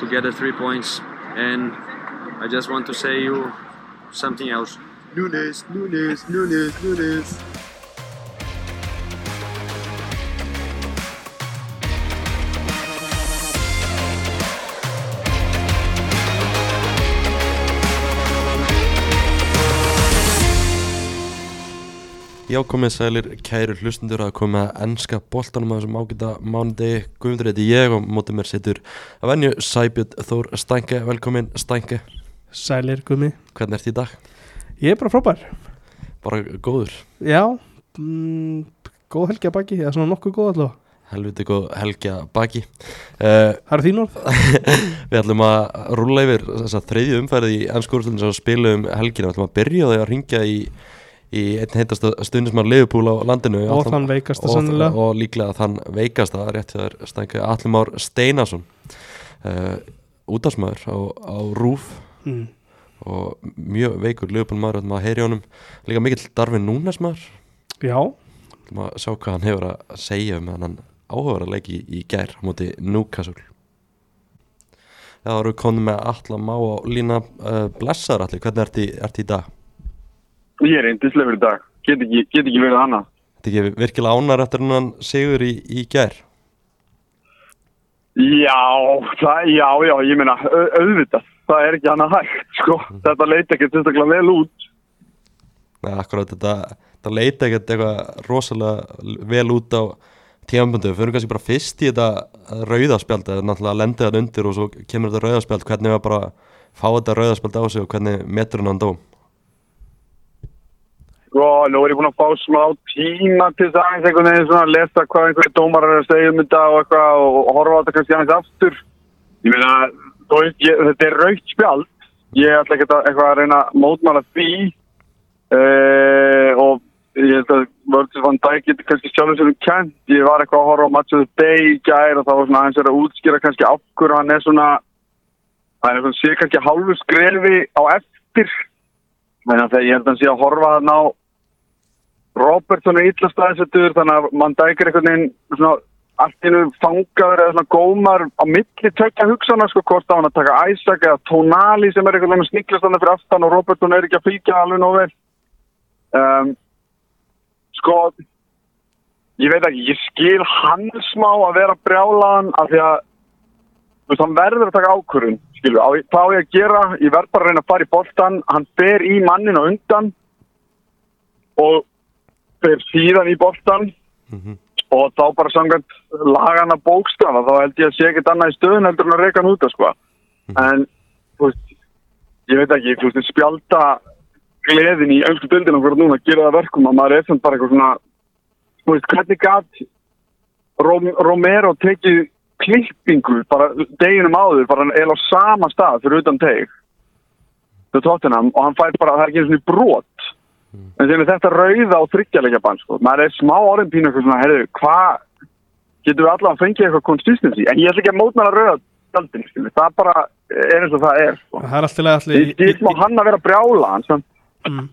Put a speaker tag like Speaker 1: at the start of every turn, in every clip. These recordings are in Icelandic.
Speaker 1: to get the three points. And I just want to say you something else.
Speaker 2: Nunes, Nunes, Nunes, Nunes.
Speaker 3: Já, komið sælir, kæru hlustundur að koma að ennska boltanum að þessum ágæta mánudegi, guðmundur heiti ég og mótið mér situr að venju Sæbjörn Þór Stænke, velkomin Stænke,
Speaker 4: Sælir gummi
Speaker 3: hvernig ert í dag?
Speaker 4: Ég er bara frábær
Speaker 3: Bara góður,
Speaker 4: Já mm, Góð helgi að baki Það er svona nokkuð góð allavega
Speaker 3: helviti góð helgja baki. Uh,
Speaker 4: Það eru þín orð
Speaker 3: við ætlum að rúla yfir þessa þriðju umferði í ennskúrstundin sem við spilum um helgina, við ætlum að byrja á því að ringja í, í einn heitasta stundismann Leifupúl á landinu.
Speaker 4: Og
Speaker 3: Ætlum-
Speaker 4: þann veikasta
Speaker 3: og,
Speaker 4: sannilega
Speaker 3: og líklega þann veikasta rétt hjá þér stænka Allumár Steinason uh, útásmaður á, á Rúf
Speaker 4: mm.
Speaker 3: og mjög veikur lögbólmaður að maður heyri honum líka mikill Darvin Núnes maður
Speaker 4: Já
Speaker 3: maður sjá hvað hann hefur að segja um hann áhugaður að leiki í gær á móti Núkassul Það eru konum með Alla Má og Lína uh, Blessar allir, hvernig ertu í, ertu í dag?
Speaker 5: Ég er eindislegur í dag. Get ekki, get ekki verið annað.
Speaker 3: Þetta er ekki virkilega ánar eftir hann sigur í, í gær
Speaker 5: Já, það, já, já, ég meina, au- auðvitað. Það er ekki annað hægt, sko. Þetta leit ekki tilstaklega vel út.
Speaker 3: Nei, akkurat, þetta, þetta leita ekkert eitthvað rosalega vel út á tímaböndu, við fyrir kannski bara fyrst í þetta rauðaspjald, það er náttúrulega að lendi það undir og svo kemur þetta rauðaspjald, hvernig við bara fá þetta rauðaspjald á sig og hvernig metur hann dóm.
Speaker 5: Sko, nú er ég búin að fá smá tíma til þess aðeins einhvern veginn svona að lesa hvað einhverju dómarar er að segja um þetta og eitthvað og, og horfa á þetta kannski aðeins aftur. Ég meina, þú veist, ég, þetta er raukt spjald. Ég ætla ekki að eitthvað að reyna að mótmála því uh, og ég held að Vörður van Dijk getur kannski sjálfur sér um kent. Ég var eitthvað að horfa á Match of the Day í gær og þá var svona aðeins verið að útskýra kannski af hverju hann er svona hann er svona sé kannski hálfu skrefi á eftir þannig að þegar ég held að hann sé að horfa hann á Robertson er illa staðsettur þannig að mann dækir einhvern veginn svona allt innu fangaður eða svona gómar á milli tökja hugsana sko hvort á hann að taka Isaac eða Tonali sem er einhvern veginn sniklast hann fyrir aftan og Robertson er ekki að fylgja alveg nóg vel um, sko ég veit ekki, ég skil hann smá að vera brjálaðan af því að þú veist, hann verður að taka ákvörðun, skilur, á, hvað á ég að gera, ég verð bara að reyna að fara í boltan, hann fer í mannin og undan og fer síðan í boltan og þá bara samkvæmt lagana bókstafa, þá held ég að sé ekkert annað í stöðun heldur en að reyka hann út, sko. En, þú veist, ég veit ekki, þú veist, spjálta gleðin í öllstu dildin okkur núna, gera það að verkum að maður er sem bara eitthvað svona, þú veist, hvernig gat Rom Romero tekið klippingu bara deginum áður, bara eða á sama stað fyrir utan teg til Tottenham og hann fær bara, það er ekki einu svona brot en sem er þetta rauða og þryggjarleika bann sko, maður er smá orðin pínu eitthvað svona, heyrðu, hvað getum við allavega að fengja eitthvað konsistensi en ég ætla ekki að mótmæla rauða daldin skilur. það bara er eins og það er sko.
Speaker 4: Það er alltaf lega allir
Speaker 5: ég skil má hann að vera brjála hann sem
Speaker 4: mm.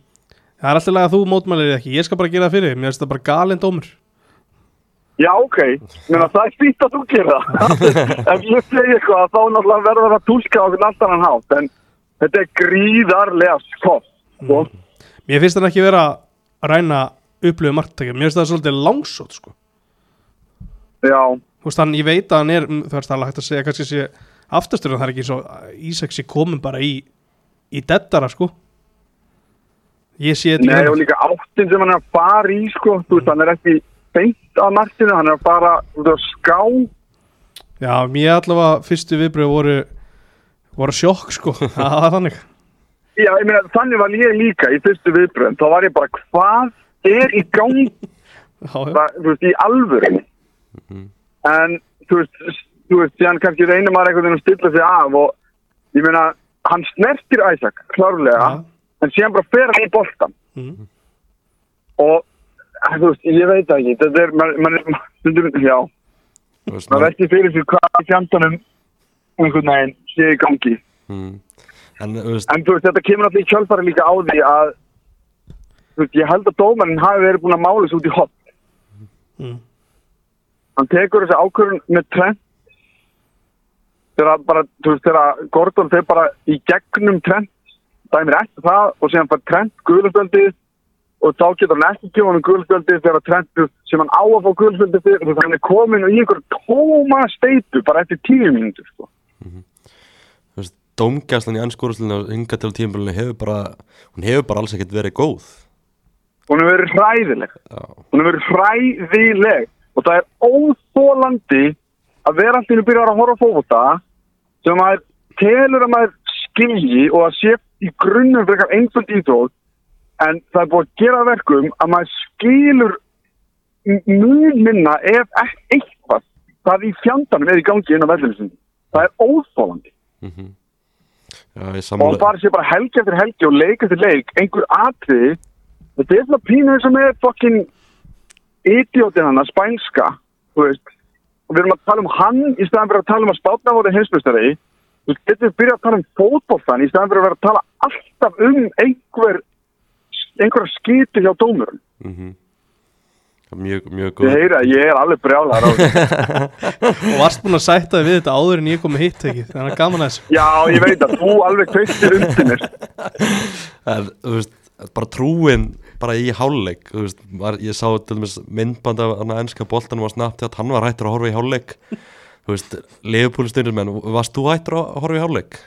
Speaker 4: Það er alltaf lega að þú mótmælir því ekki Ég skal bara gera það fyrir þig. Mér finnst það bara galinn dómur
Speaker 5: Já, ok, Menna, það er fýtt að þú gera Ef ég segi eitthvað þá náttúrulega verður það að tólka á okkur allt annan hátt En þetta er gríðarlega skoff mm.
Speaker 4: Mér finnst það ekki vera að ræna upplöfu marktækja Mér finnst það svolítið langsótt sko
Speaker 5: Já,
Speaker 4: Þú veist hann, ég veit að hann er mm, Þú veist það er hægt að segja kannski sé aftastur En það er ekki svo Ísak sé komin bara í Í dettara sko Ég sé þetta
Speaker 5: nei og
Speaker 4: ekki
Speaker 5: líka áttin sem hann er að fara í sko Þú veist, hann er ekki beint að markinu Hann er að fara út á ská
Speaker 4: Já, mér allavega fyrstu viðbröð voru voru sjokk sko, það var þannig
Speaker 5: Já, ég meina, þannig var ég líka í fyrstu viðbröðum Þá var ég bara, hvað er í gangi
Speaker 4: Já, já.
Speaker 5: það, þú veist, í alvöru en þú veist, s- þú veist, síðan kannski reynir maður einhvern veginn að stilla sig af og ég meina, hann snertir Isaac klárlega,
Speaker 4: Ja.
Speaker 5: en síðan bara fer hann í boltan
Speaker 4: Mhm.
Speaker 5: og að, þú veist, ég veit það ekki þetta er, mann man, man, stundum- já,
Speaker 3: Þú veist,
Speaker 5: maður vesti fyrir sér hvað í fjandanum einhvern veginn sé í gangi
Speaker 3: mm. En þú veist,
Speaker 5: en þú veist, þetta kemur alltaf í kjölfari líka á því að þú veist, ég held að dómarinn hafi verið búin að mála þessu út í hopp
Speaker 4: Mm.
Speaker 5: hann tekur þessi ákvörðun með trend þegar að bara, þú veist, þegar Gordon þeir bara í gegnum trend dæmir eftir það og síðan fær trend guðlspjöldið og þá getur hann ekki gefa hann guðlspjöldið þegar trend þú veist, sem hann á að fá guðlspjöldið fyrir þannig að hann er komin í einhver tóma steitu bara eftir tíu mínútur sko.
Speaker 3: veist, dómgæslan í ennskóruslunni hinga til tímabilinu hefur bara hún hefur bara alls ekkert verið góð
Speaker 5: hún hefur verið hræðileg
Speaker 3: já,
Speaker 5: hún hefur verið hræðileg og það er óþólandi að vera allt í einu byrjar að horfa á fókvota sem maður telur að maður skilji og að sé í grunnum fyrir eitthvað einföld íþrótt en það er búið að gera að verkum að maður skilur m- mun minna ef ekki eitthvað hvað í fjandanum er í gangi inn á vellinsinn það er óþólandi
Speaker 3: já, ég
Speaker 5: og hann
Speaker 3: samlega
Speaker 5: bara sé bara helgi eftir helgi og leik eftir leik, einhver atriði þetta er svona pínu eins og með fokkin idiotinn hann að spænska þú veist, og við erum að tala um hann í staðan fyrir að tala um að spátna voru heimsbyrstari þú veist, þetta er byrjað að tala um fótboltan í staðan fyrir að vera að tala alltaf um einhver einhverja skýti hjá dómurum
Speaker 3: mjög, mjög
Speaker 5: ég
Speaker 3: góð
Speaker 5: heyri að ég er alveg brjálar á þessu
Speaker 4: og varst búin að sætta þig við þetta áður en ég kom með hitt tekið þannig að gaman að þessu
Speaker 5: já, ég veit að þú alveg um kveistir undir mér
Speaker 3: en, þú veist, bara trúin bara í hálfleik þú veist, var, ég sá til dæmis myndband af hann ennska boltanum á snabbt að hann var hættur að horfa í hálfleik þú veist, leifupúlstunir menn varst þú hættur að horfa í hálfleik?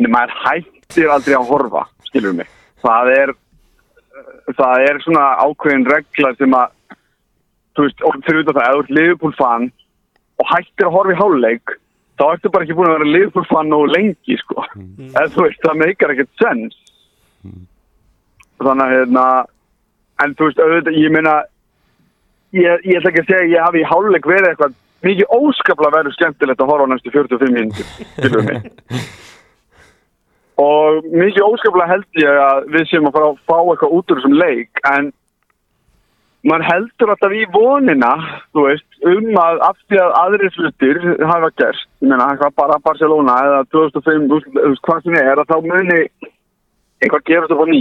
Speaker 5: en maður hættir aldrei að horfa skilur mig það er, eh, það er svona ákveðin regla sem að þú veist, og fyrir út af það, ef þú ert Liverpool fan og hættir að horfa í háluleik þá ertu bara ekki búin að vera Liverpool fan nógu lengi, sko en þú veist, það meikar ekkert sens þannig að hérna, en þú veist, auðvitað, ég meina ég, ég ætla ekki að segja að ég hafi í háluleik verið eitthvað mikið óskaplega verið skemmtilegt að horfa á næstu 45 minnum, skilur mig og mikið óskaplega held ég að við séum að fara að fá eitthvað út úr þessum leik en maður heldur alltaf í vonina þú veist, um að af því að aðri hlutir hafa gerst ég meina, hvað bara Barcelona eða 2005, þú veist- þú veist, hvað sem er að þá muni einhvað gerast upp á ný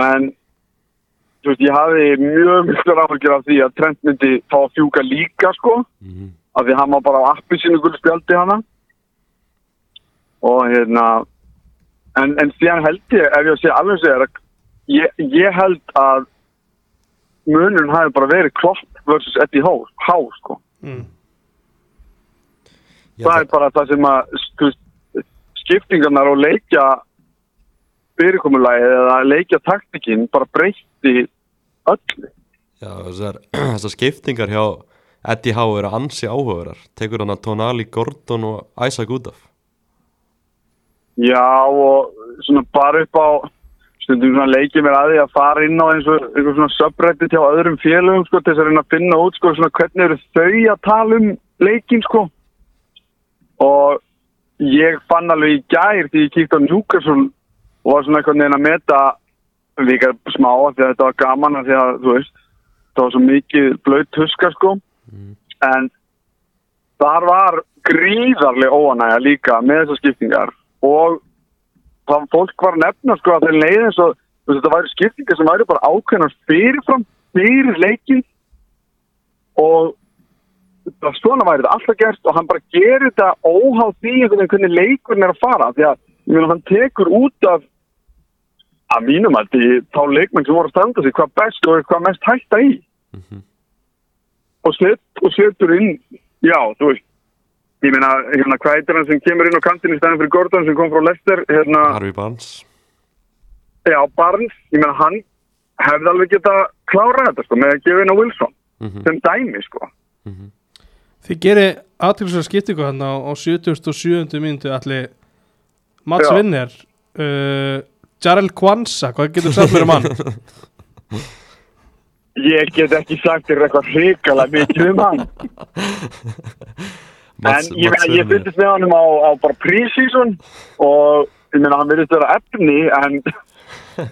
Speaker 5: en þú veist, ég hafi mjög miklar áhyggjur af því að Trent myndi fá að fjúka líka sko, af því hann var bara á appi sinu gullspjaldi hana og hérna en, en síðan held ég, ef ég á að segja alveg segja að ég, ég held að munurinn hafi bara verið Klopp versus Eddie Há, Há sko.
Speaker 4: mm.
Speaker 3: Ég
Speaker 5: það
Speaker 3: ætla-
Speaker 5: er bara það sem að þú veist, skiptingarnar og leikja fyrirkomulagið eða leikja taktikinn bara breytti öllu
Speaker 3: Já, þessar, þessar skiptingar hjá Eddie Howe eru ansi áhugaverar tekur hann að Tonali, Gordon og Isaac út af
Speaker 5: Já og svona bara upp á stundum svona leikið mér að því að fara inn á eins og einhver svona subreddit hjá öðrum félögum sko til þess að reyna að finna út sko svona hvernig eru þau að tala um leikin sko og ég fann alveg í gær því ég kíkt á Newcastle og var svona einhvern veginn að meta líka smá af því að þetta var gaman af því að þú veist það var svo mikið blöyt huska sko en þar var gríðarlega óanægja líka með þessar skiptingar og það fólk var að nefna sko að þeir leiði eins og þú veist, þetta væri skiptingar sem væri bara ákveðnar fyrirfram fyrir leikin og það svona væri þetta alltaf gert og hann bara gerir þetta óháð því einhvern veginn hvernig leikurinn er að fara því að ég meina, hann tekur út af að mínum að því þá leikmenn sem voru að standa sig hvað best og hvað mest hætta í og, set, og setur inn já, þú veist ég meina, hérna, hvað heitir hann sem kemur inn á kantinn í stæðan fyrir Gordon sem kom frá Lester hérna,
Speaker 3: Harvey Barnes
Speaker 5: já, Barnes ég meina, hann hefði alveg geta klárað þetta, sko, með að gefa inn á Wilson sem dæmi, sko
Speaker 4: þið gerir aðtilsverð skiptingu hann á, á 77. myndu allir Mats
Speaker 5: Já.
Speaker 4: Vinner uh, Jarel Kwanza, hvað getur sagt mér um hann
Speaker 5: ég get ekki sagt þér eitthvað hrikala mikið um hann
Speaker 3: Mats-
Speaker 5: en ég,
Speaker 3: Mats
Speaker 5: meina, ég
Speaker 3: Werner.
Speaker 5: fyndist með honum á, á bara pre-season og ég meina hann virðist vera efni en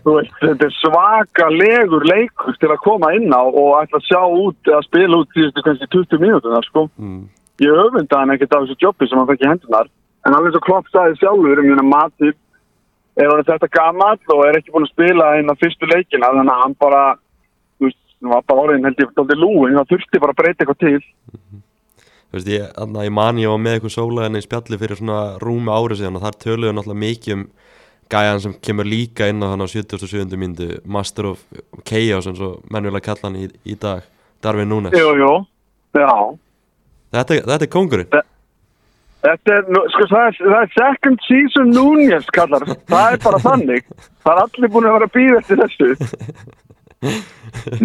Speaker 5: þú veist, þetta er svaka legur leikur til að koma inn á og ætla að sjá út eða spila út síðustu kannski 20 mínútunar sko.
Speaker 3: Mm.
Speaker 5: ég öfunda hann ekkert af þessu jobbi sem hann fekk í hendunar en alveg svo Klopp sagði sjálfur um hérna matið er hann þetta gamall og er ekki búin að spila hérna fyrstu leikina þannig að hann bara þú veist, hann var bara orðin held ég dálítið lúin, það þurfti bara að breyta eitthvað til
Speaker 3: þú veist, ég, anna, ég man ég var með eitthvað sólaðinni í spjalli fyrir svona rúmi ári síðan og þar töluðu náttúrulega mikið um gæjan sem kemur líka inn á þannig á 77. myndu, Master of Chaos eins og mennjulega kalla hann í, í dag Darvin Núnes,
Speaker 5: Jú, jú, já.
Speaker 3: þetta, þetta er kongurinn
Speaker 5: Þetta er, nú- sko, það er, það er second season Núñez, kallar. Það er bara þannig. Það er allir búin að vera að býða eftir þessu.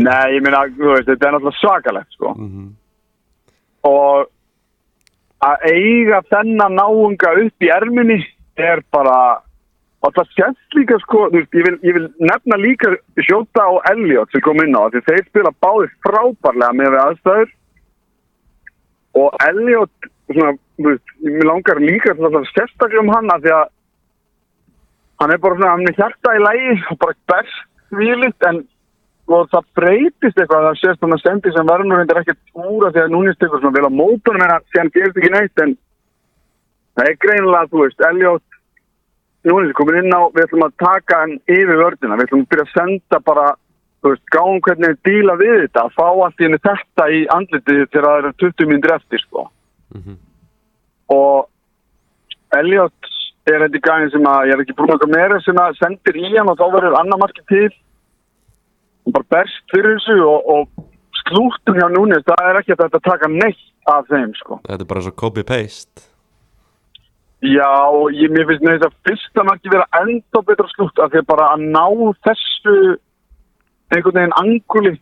Speaker 5: Nei, ég meina, þú veist, þetta er náttúrulega svakalegt, sko. Og að eiga þennan náunga upp í erminni er bara, og það sést líka, sko, þú veist, ég vil, ég vil nefna líka Sjóta og Elliot sem kom inn á, því þeir spila báði frábærlega með við aðstæður og Elliot svona, þú veist, mér langar líka svona að sérstaklega um hann að því að hann er bara svona, hann er hjarta í lægi og bara berst svílitt en og það breytist eitthvað það sést hann að sendi sem verður hendur ekkert úr af því að núna stekur svona vel á mótunum en að því hann gerist ekki neitt en það er greinilega, þú veist, Elliot Jónis er komin inn á, við ætlum að taka hann yfir vördina, við ætlum að byrja að senda bara, þú veist, gáum hvernig við díla við þetta, fá allt í henni þetta í andlitið þegar það eru 20 mínútur eftir, sko. Og Elliot er þetta í gæðin sem að, ég er ekki búin okkar meira sem að sendir í hann og þá verður annar markið til. Hún bara berst fyrir þessu og, og slúttum hjá Núnis, það er ekki að þetta taka neitt af þeim, sko.
Speaker 3: þetta er bara svo copy-paste
Speaker 5: Já, ég, mér finnst með þetta fyrsta marki vera enda betra slútt af því að bara að ná þessu einhvern veginn anguli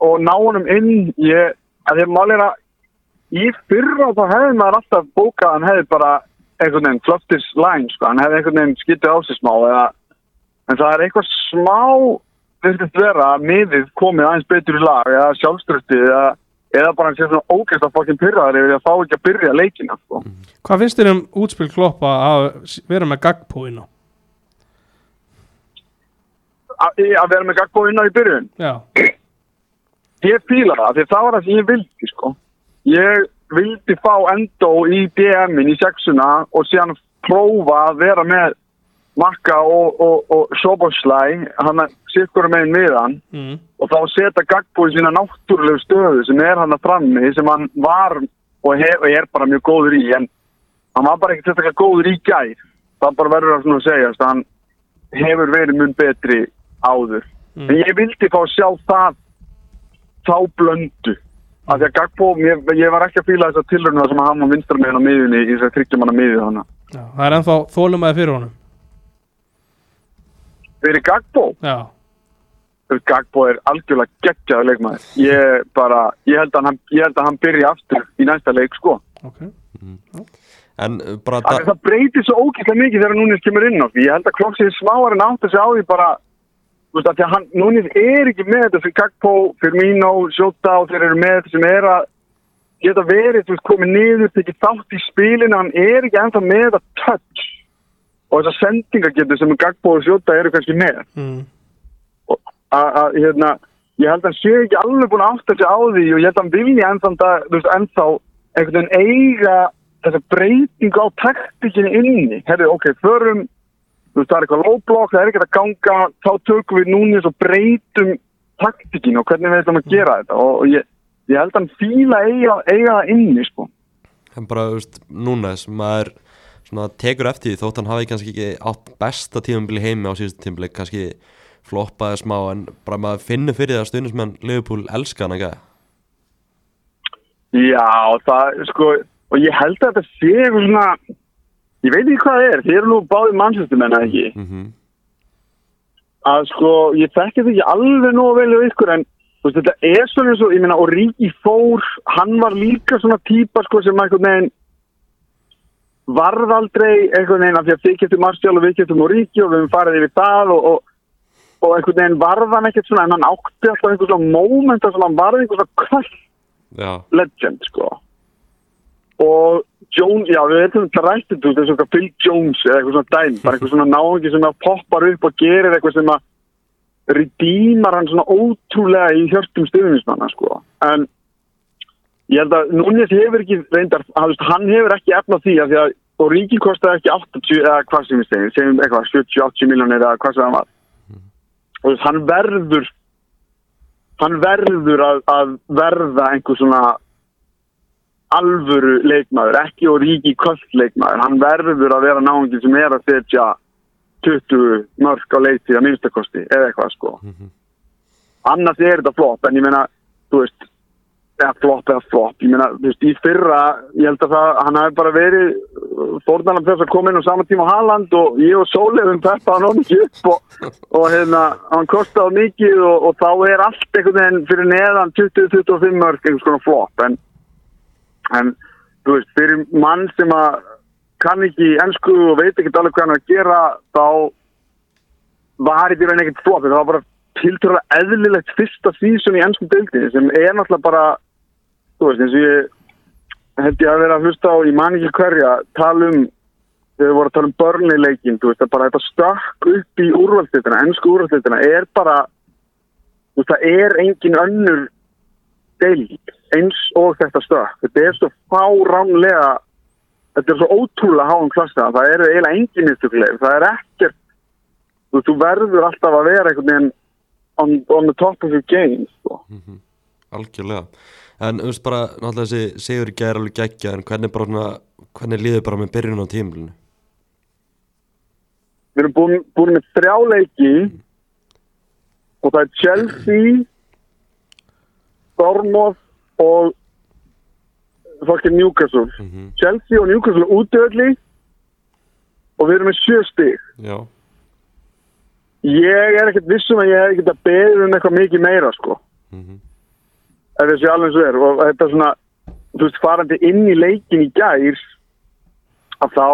Speaker 5: og ná honum inn ég, að því að mál er að í fyrra þá hefði maður alltaf bókað að hann hefði bara einhvern veginn flottis line, sko, hann hefði einhvern veginn skýttið á sig smá eða, en það er eitthvað smá finnst vera að miðið komið aðeins betur í lag eða sjálfströftið eða, eða bara hann sé svona ógæst að fokkin pyrraður yfir því að fá ekki að byrja leikina, sko.
Speaker 4: Hvað finnst þér um útspil kloppa að vera með Gagpo inn á?
Speaker 5: að að vera með Gagbo inn á í byrjun
Speaker 4: Já,
Speaker 5: ég fíla það, því það var það sem ég vildi sko. ég vildi fá endó í DM-in í sexuna og síðan prófa að vera með Makka og, og, og Soboslæ, hann er sikkur meginn við hann
Speaker 4: mm.
Speaker 5: og þá setja Gagbo í sína náttúrulegu stöðu sem er hann að frammi, sem hann var og, hef, og er bara mjög góður í en hann var bara ekkert sérstaklega góður í gær það bara verður að svona að segja að hann hefur verið mun betri áður
Speaker 4: Mm.
Speaker 5: en ég vildi fá að sjá það þá blöndu af því að Gagbo, ég, ég var ekki að fíla þess að tilröna sem hann var vinstra meðin á miðunni í þess að tryggjum hann að miðið hana
Speaker 4: já, það er ennþá þólumæði fyrir honum
Speaker 5: fyrir Gagbo
Speaker 4: Já,
Speaker 5: Gagbo er algjörlega geggjaður leikmaður ég bara, ég held að hann, ég held að hann byrja aftur í næsta leik sko
Speaker 4: ok
Speaker 3: en uh, bara
Speaker 5: Af því að
Speaker 3: da,
Speaker 5: það breytir svo ógæslega mikið þegar Núnes kemur inn á því ég held að Klokksið smáar en átt að á því bara þú veist að því að hann, Núnes er ekki með þetta sem Gagbo, Firmino, Sjóta og þeir eru með þetta sem er að geta verið, þú veist, komið niður tekið þátt í spilinu, hann er ekki ennþá með þetta touch og þessar sendingagetur sem Gagbo og Sjóta eru kannski með
Speaker 4: mm.
Speaker 5: að að, hérna, ég held að hann sé ekki alveg búin að átta sig á því og ég held að hann vilji ennþá, dag- þú veist, ennþá einhvern veginn eiga þessa breytingu á taktikinu inni herri, ok, förum þú veist, það er eitthvað lóblokk, það er ekkert að ganga þá tökum við núni og breytum taktikinu og hvernig við ætlum að gera þetta og, og ég, ég held að hann fíla eiga, eiga það inni, sko
Speaker 3: en bara þú veist, núna sem maður svona, tekur eftir því þótt hann hafi kannski ekki átt besta tíðanbili heimi á síðustu tíðanbili kannski floppaði smá en bara maður finnur fyrir það að stundismenn Liverpool elska hann ekki
Speaker 5: Já, það, sko, og ég held að þetta sé eitthvað svona, ég veit ekki hvað það er, þið eru nú báðið mannsvistumenn að ekki.
Speaker 3: Mhm.
Speaker 5: Að sko, ég þekki þetta ekki alveg nóg vel við ykkur, en þú veist, þetta er svona eins og, ég meina, og Ríki Fór, hann var líka svona típa, sko, sem einhvern veginn varð aldrei einhvern veginn af því að þið getum Marcial og við getum Ríki og við höfum farið yfir það og, og og einhvern veginn varð hann ekkert svona en hann átti alltaf einhvern svona moment þar sem hann varð einhvern svona kvöld
Speaker 3: já,
Speaker 5: legend sko og Jones, já við veitum það rættið þú veist eins og eitthvað Phil Jones eða eitthvað svona dæm, bara eitthvað svona náðingi sem að poppar upp og gerir eitthvað sem að redeemar hann svona ótrúlega í hjörtum stuðunismanna sko en ég held að Núnes hefur ekki reyndar, hann, veist, hann hefur ekki efna því að því að og ríki kostaði ekki 80 eða hvað sem við segjum, segjum eitthvað 70-80 miljónir eða hvað sem það var og þú veist, hann verður hann verður að, að verða einhver svona alvöru leikmaður, ekki og ríki köst leikmaður. Hann verður að vera náðungin sem er að setja 20 mörg á leiti að minnstakosti eða eitthvað sko. Annars er þetta flop, en ég meina, þú veist, eða flop eða flop, ég meina, þú veist, í fyrra, ég held að það, hann hafi bara verið fórnalam þess að koma inn á sama tíma á Haaland og ég og Sólefum peppa hann honum ekki upp og, og hérna, hann kostaði mikið og, og þá er allt einhvern veginn fyrir neðan 20-25 mörg einhvers konar flop, en, en, þú veist, fyrir mann sem að kann ekki ennsku og veit ekki alveg hvað hann er að gera, þá var í raun ekkert flop það var bara tiltrúlega eðlilegt fyrsta sísun í ennskum deildinni sem er náttúrulega bara þú veist eins og ég held ég að vera að hlusta á í manningi hverja tala um þegar við vorum að tala um börnileikin þú veist að bara þetta stakk upp í úrvalstitina ennsku úrvalstitina er bara þú veist það er engin önnur deild eins og þetta stakk þetta er svo fáránlega þetta er svo ótrúlega háum klassa það eru eiginlega engin mistökuleg það er ekkert þú, þú verður alltaf að vera einhvern veginn on, on the top of your game sko.
Speaker 3: algjörlega en þú veist bara, náttúrulega þessi sigur í gæri alveg geggja, en hvernig bara svona hvernig líður bara með byrjun á tímilinu
Speaker 5: við erum búin, búin með þrjá leiki og það er Chelsea Dortmund og fucking Newcastle Chelsea og Newcastle útöðli og við erum með sjö stig
Speaker 3: já,
Speaker 5: Ég er ekkert vissum að ég hef ekkert að beðið um eitthvað mikið meira sko
Speaker 3: Mhm.
Speaker 5: ef þessi alveg svo er og þetta svona, þú veist, farandi inn í leikin í gær að þá,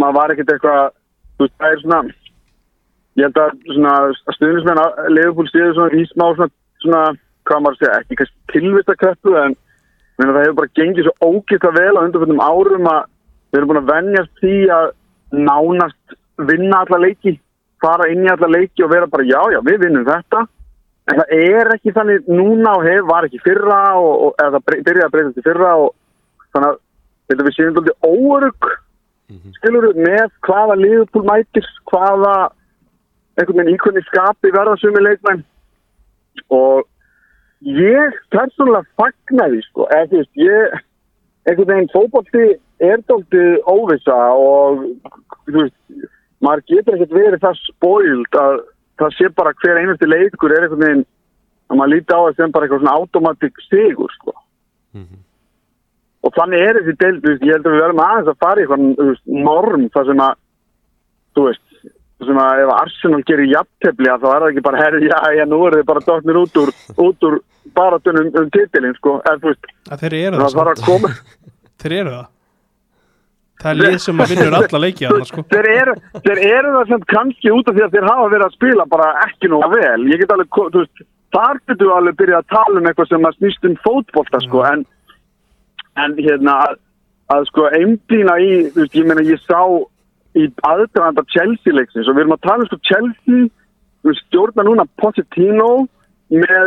Speaker 5: maður var ekkert eitthvað þú veist, það er svona ég held að svona stuðnismenn að leifupúl stíðu svona í smá svona, svona hvað maður að segja, ekki kannski tilvistakreppu en ég meina, það hefur bara gengið svo ógæsta vel á undanfjöndum árum að við erum búin að venjast því að nánast vinna alla leiki fara inn í alla leiki og vera bara já, já, við vinnum þetta En það er ekki þannig núna og hef, var ekki fyrra og, og eða það brey- byrjaði að breytast í fyrra og þannig að þetta við séum alltaf óörug skilur við með hvaða liðupúl mætir, hvaða einhvern veginn íkvönni skapi verða sumi leikmenn og ég persónulega fagna því sko, eða þú veist, ég einhvern veginn fótbolti er dólti óvisa og þú veist, maður getur ekkert verið það spoilt að það sé bara hver einasti leikur er einhvern veginn að maður líti á það sem bara eitthvað svona automatic sigur sko. og þannig er þessi deild þú veist, ég held að við verðum aðeins að fara í eitthvað þú veist, norm þar sem að þú veist, þar sem að ef Arsenal gerir jafntefli að þá er það ekki bara herri, já, já, nú eru þið bara dottnir út úr út úr baratunum um titilin sko, en þú veist,
Speaker 4: að þeir eru það,
Speaker 5: það þarf að
Speaker 4: samt.
Speaker 5: koma
Speaker 4: þeir eru það það er lið sem að vinnur alla leiki annars sko
Speaker 5: þeir eru, þeir eru það sem kannski út af því að þeir hafa verið að spila bara ekki nóg vel ég get alveg, ko- þú veist, þar getur við alveg byrjað að tala um eitthvað sem að snýst um fótbolta sko, en, en hérna að, að sko einblýna í, þú veist, ég meina ég sá í aðdraðanda Chelsea leiksins og við erum að tala um sko Chelsea þú veist, stjórna núna Pochettino með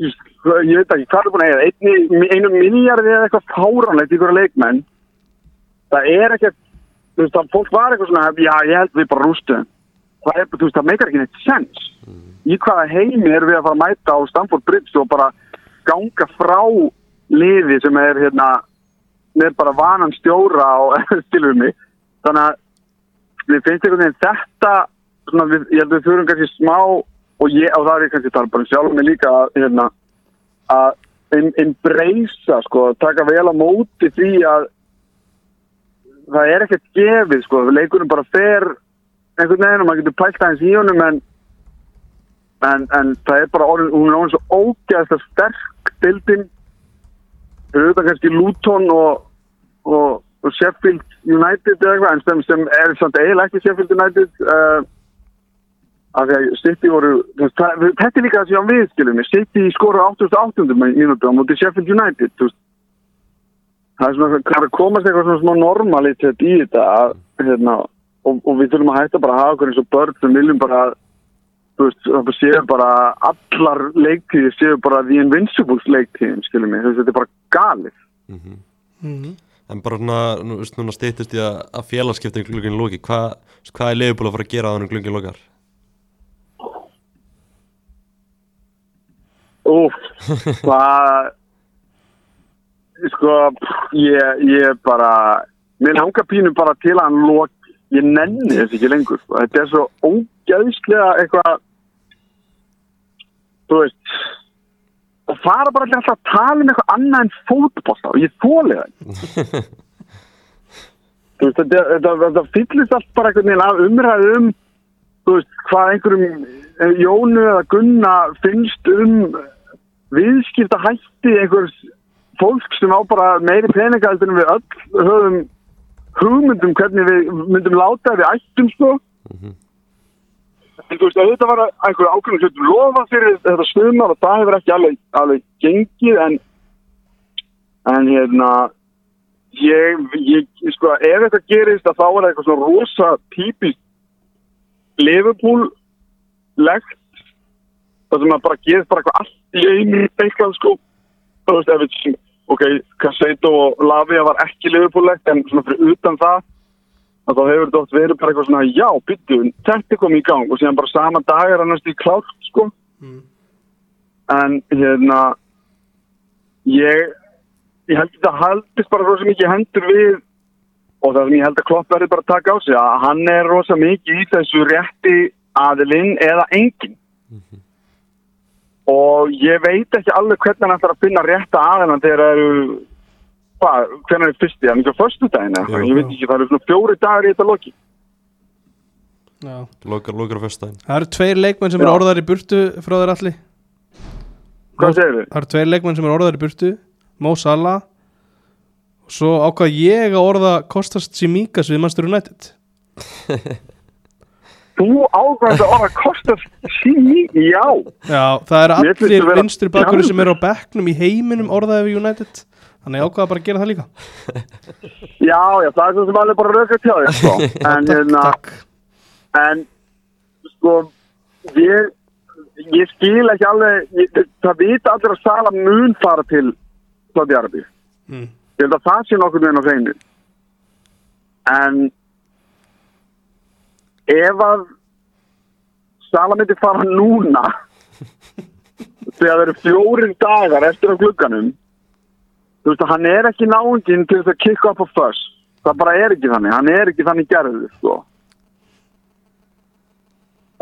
Speaker 5: ég, ég veit ekki hvað er búin að eiga einni, einu miljardi eða eitthvað fáránlegt í hverju leikmenn það er ekkert þú veist, að fólk var eitthvað svona, já, ég held við bara rústum. Það er, þú veist, það meikar ekki neitt sens. Í hvaða heimi erum við að fara að mæta á Stamford Bridge og bara ganga frá liði sem er, hérna, með bara vanan stjóra og stilur mig. Þannig að við finnst einhvern veginn þetta, svona, við, ég held við þurfum kannski smá og ég, og það er ég kannski að tala bara um sjálf mig líka, að, hérna, að em- embracea, sko, taka vel á móti því að það er ekkert gefið sko, leikunum bara fer einhvern veginn og maður getur pælt aðeins í honum en, en, en það er bara orðin, hún er orðin svo ógeðslega sterk dildin fyrir auðvitað kannski Luton og, og, og Sheffield United eða eitthvað en sem, sem er samt eiginlega ekki Sheffield United uh, af því að City voru þú veist, það, við- þetta er líka það sem ég á við skilum við. City skora 88. mínútu á móti Sheffield United þú veist það er svona það er að komast eitthvað svona smá normalitet í þetta að, hérna, og, og við þurfum að hætta bara að hafa okkur eins og börn sem viljum bara þú veist, það bara séu bara allar leiktíði séu bara the invincibles leiktíðin, skilum mig, þú veist, þetta er bara galið
Speaker 3: en bara svona, nú veist, núna stýttist ég að, að félagskiptin glugin lóki, hvað hvað er leifbúl að fara að gera á hann glugin lókar
Speaker 5: Úf, það sko, pff, ég, ég bara, minn hanga pínu bara til að hann lók, ég nenni þetta ekki lengur. sko. Þetta er svo ógæðislega eitthvað, þú veist, og fara bara alltaf að tala um eitthvað annað en fótbolta og ég þóli það. ekki. þú veist, þetta, þetta, þetta fyllist allt bara einhvern veginn af umræðu um, þú veist, hvað einhverjum eh, Jónu eða Gunna finnst um viðskipta hætti einhvers fólk sem á bara meiri peninga heldur en við öll höfum hugmyndum hvernig við myndum láta ef við ættum sko en þú veist auðvitað var einhver ákveðum hlutum lofa fyrir þetta stumar og það hefur ekki alveg, alveg gengið en en hérna ég, ég sko ef eitthvað gerist að þá er það eitthvað svona rosa típist Liverpool legt það sem að bara gerist bara eitthvað allt í einu eitthvað sko þú veist ef við ok, Casado og Lavia var ekki liðbúlegt en svona fyrir utan það að þá hefur þetta oft verið bara eitthvað svona já, byttu, þetta kom í gang og síðan bara sama dag er annars í klátt sko en hérna ég ég held að þetta haldist bara rosa mikið í hendur við og það sem ég held að Klopp verður bara að taka á sig að hann er rosa mikið í þessu rétti aðilinn eða enginn og ég veit ekki alveg hvernig hann ætlar að finna rétta aðeina þegar það eru hvað, hvernig er fyrsti, hann er ekki á förstu dagina
Speaker 3: Jú.
Speaker 5: ég veit ekki, það eru svona fjóri dagar í þetta loki
Speaker 4: Já.
Speaker 3: Lokar, lokar á föstudaginn
Speaker 4: Það eru tveir leikmenn sem
Speaker 5: Já.
Speaker 4: eru orðar í burtu frá þér allir
Speaker 5: hvað segir þið?
Speaker 4: Það eru tveir leikmenn sem eru orðar í burtu Mo Salah og svo ákvað ég að orða Kostas Simíkas við Manchester United
Speaker 5: Þú ákvæmst að orða kostar síni, já
Speaker 4: Já, það eru
Speaker 5: Mér finnst
Speaker 4: allir
Speaker 5: þú vera-
Speaker 4: vinstri bakverður sem eru á bekknum í heiminum orðaði við United Þannig ég ákvaða bara að gera það líka
Speaker 5: Já, já, það er svo sem alveg bara röka til þér sko. En hérna
Speaker 4: Takk
Speaker 5: En sko Ég, ég skil ekki alveg ég, Það vita allir að Sala mun fara til Sáti Arabi
Speaker 4: Mm.
Speaker 5: Ég held að það sé nokkur meðan á hreinu En Ef að Sala myndi fara núna Þegar það eru fjórir dagar eftir á glugganum Þú veist að hann er ekki náungin til þess að kick up a fuss Það bara er ekki þannig, hann er ekki þannig gerður sko.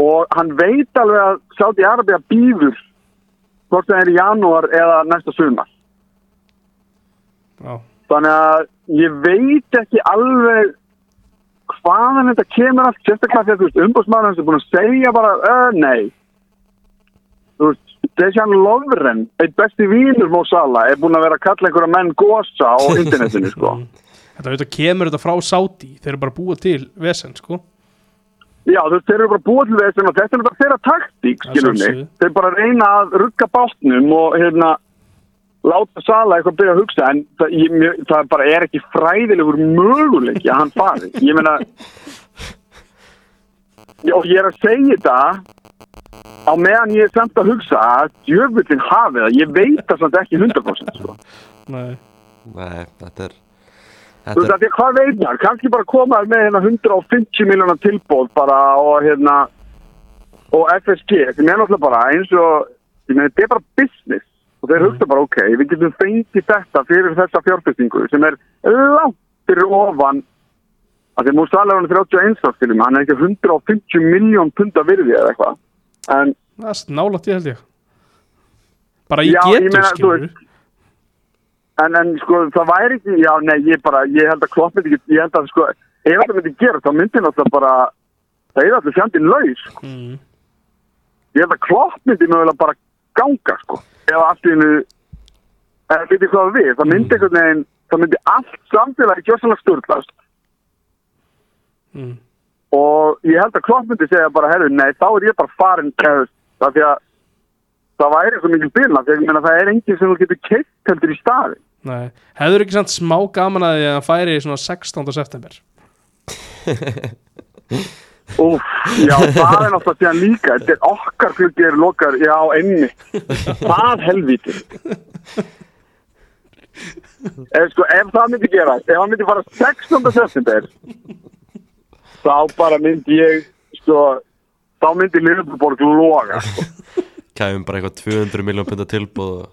Speaker 5: Og hann veit alveg að Saudi Arabia býður hvort það er í janúar eða næsta sumar
Speaker 4: Já,
Speaker 5: Þannig að ég veit ekki alveg hvaðan þetta kemur allt, sérstaklega þegar þú veist umbúrsmaður hans er búin að segja bara, öh, nei. Þú veist, Dejan Lovren, eitt besti vínur Mó Sala, er búin að vera að kalla einhverja menn gósa á internetinu, sko.
Speaker 4: Þetta auðvitað kemur þetta frá Saudi Þeir eru bara að búa til vesen sko
Speaker 5: Já, þú veist, þeir eru bara búið til þess að þetta er bara þeirra taktík,
Speaker 4: Að
Speaker 5: skilur mig.
Speaker 4: sjálfsögðu.
Speaker 5: Þeir bara reyna að rugga bátnum og hérna láta Sala eitthvað byrja að hugsa en það, ég, mjö- það bara er ekki fræðilegur möguleiki að hann fari. Ég meina Já, og ég er að segja þetta á meðan ég er samt að hugsa að djöfullin hafi það. Ég veit það samt ekki 100% sko.
Speaker 4: Nei
Speaker 3: Nei, þetta er
Speaker 5: Þú veist
Speaker 3: Þetta
Speaker 5: að ég hvað veit maður, kannski bara komaður með hérna 150 miljónar tilbóð bara og hérna og FSG, sem er náttúrulega bara eins og ég meina þetta er bara business og
Speaker 3: Mhm.
Speaker 5: þeir hugsa bara ok, við getum fengið þetta fyrir þessa fjárfestingu sem er langt fyrir ofan að því Músala er hann 31 árs til um, hann er ekki 150 miljón punda virði eða eitthvað en
Speaker 4: Það er nálægt í held ég Bara ég
Speaker 5: Já, ég
Speaker 4: getur
Speaker 5: meina, þú
Speaker 4: skilur
Speaker 5: veist- en, en sko það væri ekki, já nei ég bara ég held að klopp myndi ekki, ég held að sko ef þetta myndi gera þá myndi náttúrulega bara það er alltaf fjandinn laus sko.
Speaker 4: mm.
Speaker 5: ég held að klopp myndi mögulega bara ganga sko ef allt í hennu eða fyrir hvað við, það
Speaker 4: Mm.
Speaker 5: myndi einhvern veginn það myndi allt samfélagi gjössalega sturglast
Speaker 4: Mm.
Speaker 5: og ég held að klopp myndi segja bara herru, nei þá er ég bara farin eða, það því að það væri svo mikil byrna, því að ég meina það er enginn sem þú getur keitt heldur í staði
Speaker 4: Nei Hefur ekki samt smá gaman að því að hann færi svona 16. september
Speaker 5: Úf, já, það er náttúrulega síðan líka Þetta er okkar gluggi er lokar Já, enni Það helvíti Ef, sko, ef það myndi gera Ef hann myndi fara 16. september Þá bara myndi ég sko, Þá myndi Ljöfuborg loga sko.
Speaker 3: kæfum bara eitthvað 200 miljón pinda tilbúð og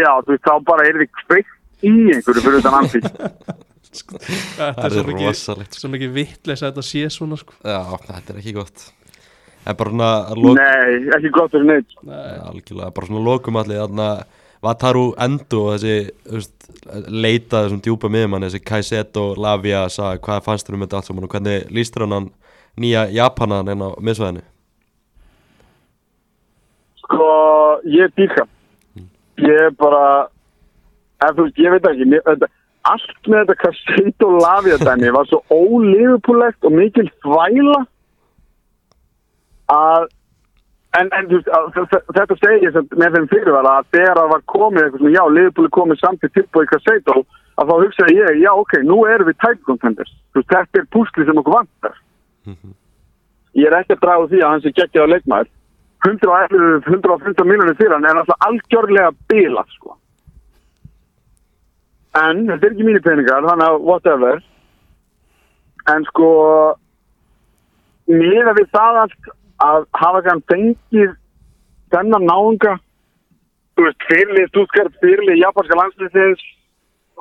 Speaker 5: já, þú veist, þá bara er þið kveikt í einhverju fyrir utan andlít.
Speaker 4: Þetta
Speaker 3: Það
Speaker 4: er svo
Speaker 3: er
Speaker 4: mikið,
Speaker 3: rosalegt sko.
Speaker 4: svo mikið vittleis að þetta sé svona sko.
Speaker 3: Já, þetta er ekki gott En bara svona að lok,
Speaker 5: Nei, ekki gott fyrir neitt.
Speaker 3: algjörlega, bara svona lokum allir Þannig að Vataru Endo og þessi þú veist, leita þessum djúpa miðmann þessi Kaiseto, Lavia, Saga, hvað fannst þér um þetta allt saman og hvernig líst þér á hann nýja Japanan en á miðsvæðinu
Speaker 5: Sko, ég dýrka. Ég er bara, ef þú veist, ég veit ekki, mér, þetta, allt með þetta kasseit og lafja dæmi var svo ólifupúlegt og mikil þvæla að, en, en þú veist, að, þ- þ- þetta segi ég sem, með þeim fyrirvara að þegar það var komið eitthvað svona, já, lifupúli komið samt í tilbúið kasseit og að þá hugsaði ég, já, ok, nú erum við tækkontenders. Þú veist, þetta er púsli sem okkur vantar. Ég er ekki að draga úr því að hans er geggjað á leikmaður. 111 115 miljonir fyrir hann er alltaf algjörlega bilað sko. en þetta er ekki mínir peningar þannig að whatever en sko miða við það allt að hafa kann fengið þennan náunga þú veist fyrirlið stúskart fyrirlið japanska landsliðsins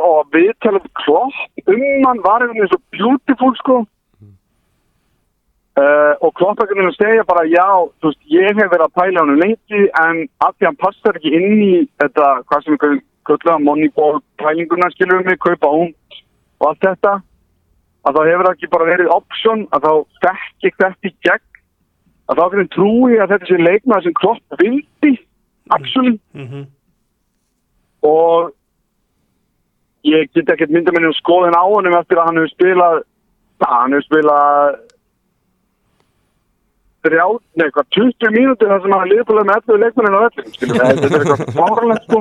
Speaker 5: og við talum klopp um hann var einhvern veginn svo beautiful sko Uh, og kloppakurinn að segja bara já, þú veist, ég hef verið að pæla hann lengi en af því hann passar ekki inn í þetta, hvað sem við köllum moneyball pælinguna skilur við mig, kaupa ung og allt þetta að þá hefur það ekki bara verið option að þá þekk ég þetta í gegn að þá hvernig trúi ég að þetta sé leikmaður sem klopp vildi actually
Speaker 4: Mhm.
Speaker 5: og ég get ekkert mynda minni um skoðin á honum eftir að hann hefur spilað að hann hefur spilað þrjá, nei, hvað, 20 mínútur þar sem hann liðbúlega með 11 leikmennin á öllum, skilum við, þetta er eitthvað fárlegt, sko.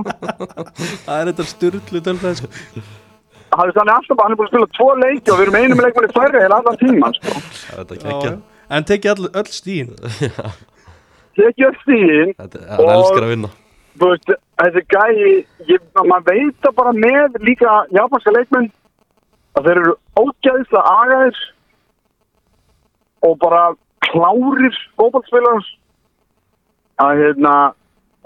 Speaker 4: Það er þetta styrlu tölfræði sko.
Speaker 5: Hann er þannig alltaf, bara- hann er búin að spila tvo leiki og við erum einum leikmenni færri heila allan tíman, sko.
Speaker 3: Þetta er
Speaker 4: Já,
Speaker 3: ekki
Speaker 4: já. En tekið all, öll stíðin
Speaker 5: Tekið upp stíðin,
Speaker 3: Þetta er hann
Speaker 5: Og-
Speaker 3: elskar að vinna
Speaker 5: þú veist, þessi gæi, ég, maður veit það bara með líka japanska leikmenn að þeir eru ógæðislega agaðir og bara klárir fótballspilarans að hérna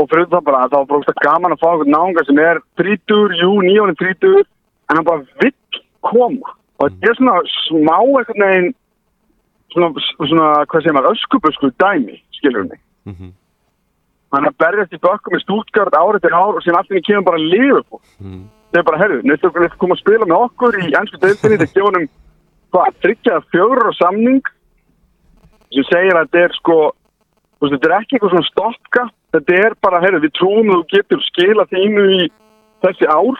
Speaker 5: og fyrir það bara að það var bara ógeðslega gaman að fá einhvern náunga sem er 30, jú, 9 og 30 en hann bara vill koma og þetta er svona smá einhvern veginn svona, svona hvað segir maður, öskubösku dæmi skilur mig
Speaker 3: Mhm.
Speaker 5: hann er að berjast í bökkum með stútgard árið til ár og síðan allt í einu kemur bara að lifa upp
Speaker 3: Mhm.
Speaker 5: það er bara, herru, næstu okkur að koma að spila með okkur í ennsku deildinni, þetta gefa hann hvað, þryggja fjögur og samning sem segir að þetta er sko þú veist, þetta er ekki eitthvað svona stopka þetta er bara, heyrðu, við trúum að þú getur skila þínu í þessi ár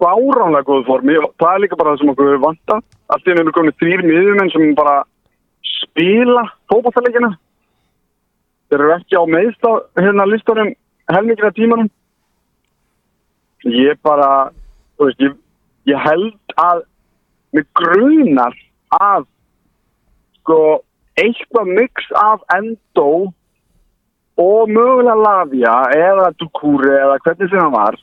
Speaker 5: fáránlega góðu formi og það er líka bara það sem okkur hefur vanta allt í enn eru komin þrýr miðjumenn sem bara spila fótballtaleikina þeir eru ekki á meðst á hérna listanum helmingir af tímanum ég bara þú veist, ég, ég held að mig grunar að sko eitthvað mix af Endo og mögulega Lavia eða Dukure eða hvernig sem hann var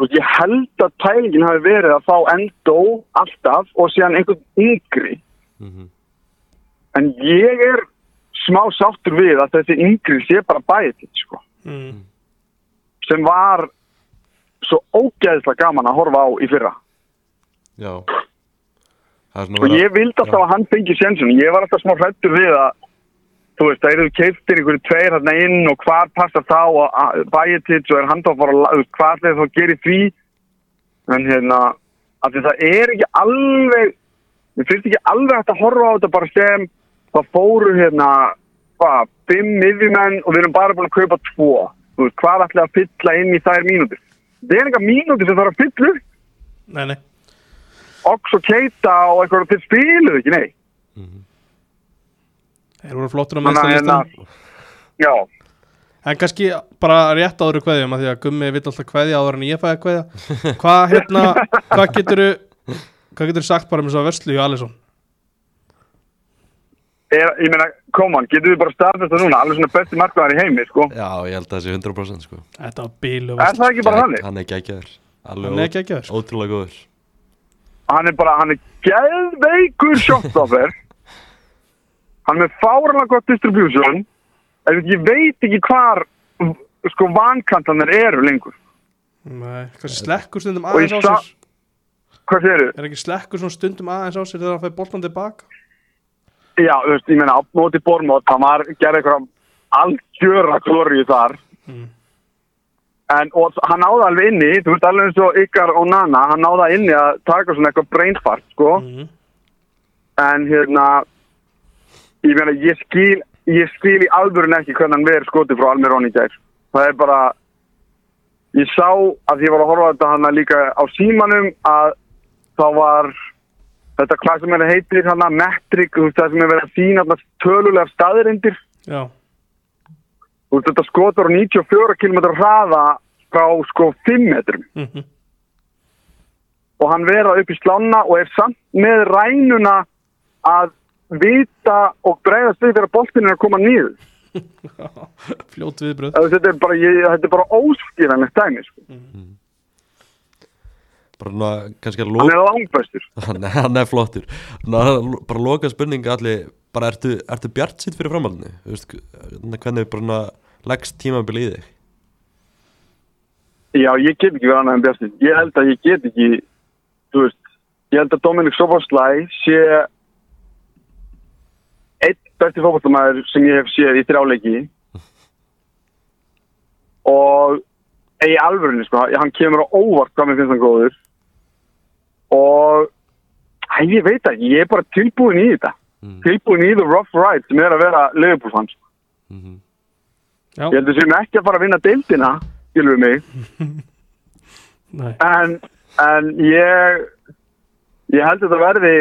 Speaker 5: Þú veist, ég held að pælingin hafi verið að fá Endo alltaf og síðan einhvern yngri
Speaker 3: Mhm.
Speaker 5: en ég er smá sáttur við að þessi yngri sé bara bæðið sko
Speaker 4: mm.
Speaker 5: sem var svo ógeðslega gaman að horfa á í fyrra
Speaker 3: Já Það er svona
Speaker 5: og
Speaker 3: verið
Speaker 5: ég vildi alltaf að hann fengi sjensun ég var alltaf smá hrættur við að þú veist, það eru keiftir einhverju tveir hérna inn og hvar passar þá og að- Bajetić og er hann þá að fara að la- þú veist, hvað ætlaði þá að gera í því en hérna, af því það er ekki alveg mér finnst ekki alveg hægt að horfa á þetta bara sem það fóru hérna hvað, fimm miðjumenn og við erum bara búin að kaupa tvo þú veist, hvað ætlaði að fylla inn í þær mínútur það er eitthvað mínútur sem þarf að fylla upp
Speaker 4: Nei, nei
Speaker 5: Ox og Keita og eitthvað þeir spiluðu ekki, nei
Speaker 4: Þeir voru flottur á
Speaker 5: Þannig að hérna
Speaker 4: meðstæðlistan
Speaker 5: Já,
Speaker 4: En kannski bara rétt áður í kveðjum að því að Gummi vill alltaf kveðja áður en ég fæði að kveðja Hvað hérna, hvað getur hvað getur sagt bara um þess að verslu í Alisson?
Speaker 5: er, ég meina, come on, getum við bara staðfesta núna alveg svona besti markvæðar í heimi, sko
Speaker 3: Já, ég held að það sé 100% sko
Speaker 4: Þetta var bílu
Speaker 5: Er það ekki bara þannig?
Speaker 3: Hann er geggjaður Alveg
Speaker 4: Hann er
Speaker 3: ó-
Speaker 4: geggjaður, sko.
Speaker 3: Ótrúlega góður
Speaker 5: Hann er bara, hann er geðveikur shotstopper Hann er með fárlega gott distribution En ég veit ekki hvar sko vankantanir eru lengur
Speaker 4: Nei, kannski slekkur stundum
Speaker 5: Og ég
Speaker 4: aðeins á
Speaker 5: sa-
Speaker 4: sér
Speaker 5: hvað séru?
Speaker 4: Er ekki slekkur svona stundum aðeins á sér þegar hann fæði boltan tilbaka?
Speaker 5: Já, þú veist, ég meina, á móti Bormót, hann var, gerði eitthvað algjöra klóriu þar. En, og hann náði alveg inni, þú veist, alveg eins og ykkar og Nana, hann náði það inni að taka svona eitthvað brainfart, sko. En, hérna, ég meina, ég skil, ég skil í alvörun ekki hvernig hann verið skotið frá Almirón í gær. Það er bara, ég sá að ég var að horfa á þetta hann líka á símanum að þá var þetta hvað sem er að heitir hann að metrik, þú veist, það sem er verið að sína þarna tölulegar staðirindir,
Speaker 4: Já,
Speaker 5: þú veist, þetta skotur á 94 km hraða frá sko 5 metrum
Speaker 4: Mhm.
Speaker 5: og hann vera upp í slána og er samt með rænuna að vita og breyðast við þegar boltinn er að koma nýður.
Speaker 4: fljót viðbröð
Speaker 5: Þetta er bara, ég, þetta er bara óskýranlegt dæmi, sko.
Speaker 3: bara ná, kannski að
Speaker 5: Hann
Speaker 3: loka
Speaker 5: er langbæstur.
Speaker 3: hann er, hann er flottur ná, bara loka spurninga allir bara ertu, ertu bjart sitt fyrir framhaldinu Þú veist, hvernig bara ná, leggst tímabili í þig
Speaker 5: Já, ég get ekki verið annað en Bjartin. Ég held að ég get ekki, þú veist, ég held að Dominik Soboslæ sé einn besti fókbaltamæður sem ég hef séð í þrjáleiki og ei alvörinu, sko, hann kemur á óvart hvað mér finnst hann góður og æ, ég veit það, ekki, ég er bara tilbúin í þetta tilbúin í the rough ride sem er að vera Liverpool fans.
Speaker 4: Já,
Speaker 5: Ég held að sem ekki að fara að vinna deildina, skilur við mig
Speaker 4: nei,
Speaker 5: en, en ég ég held að þetta verði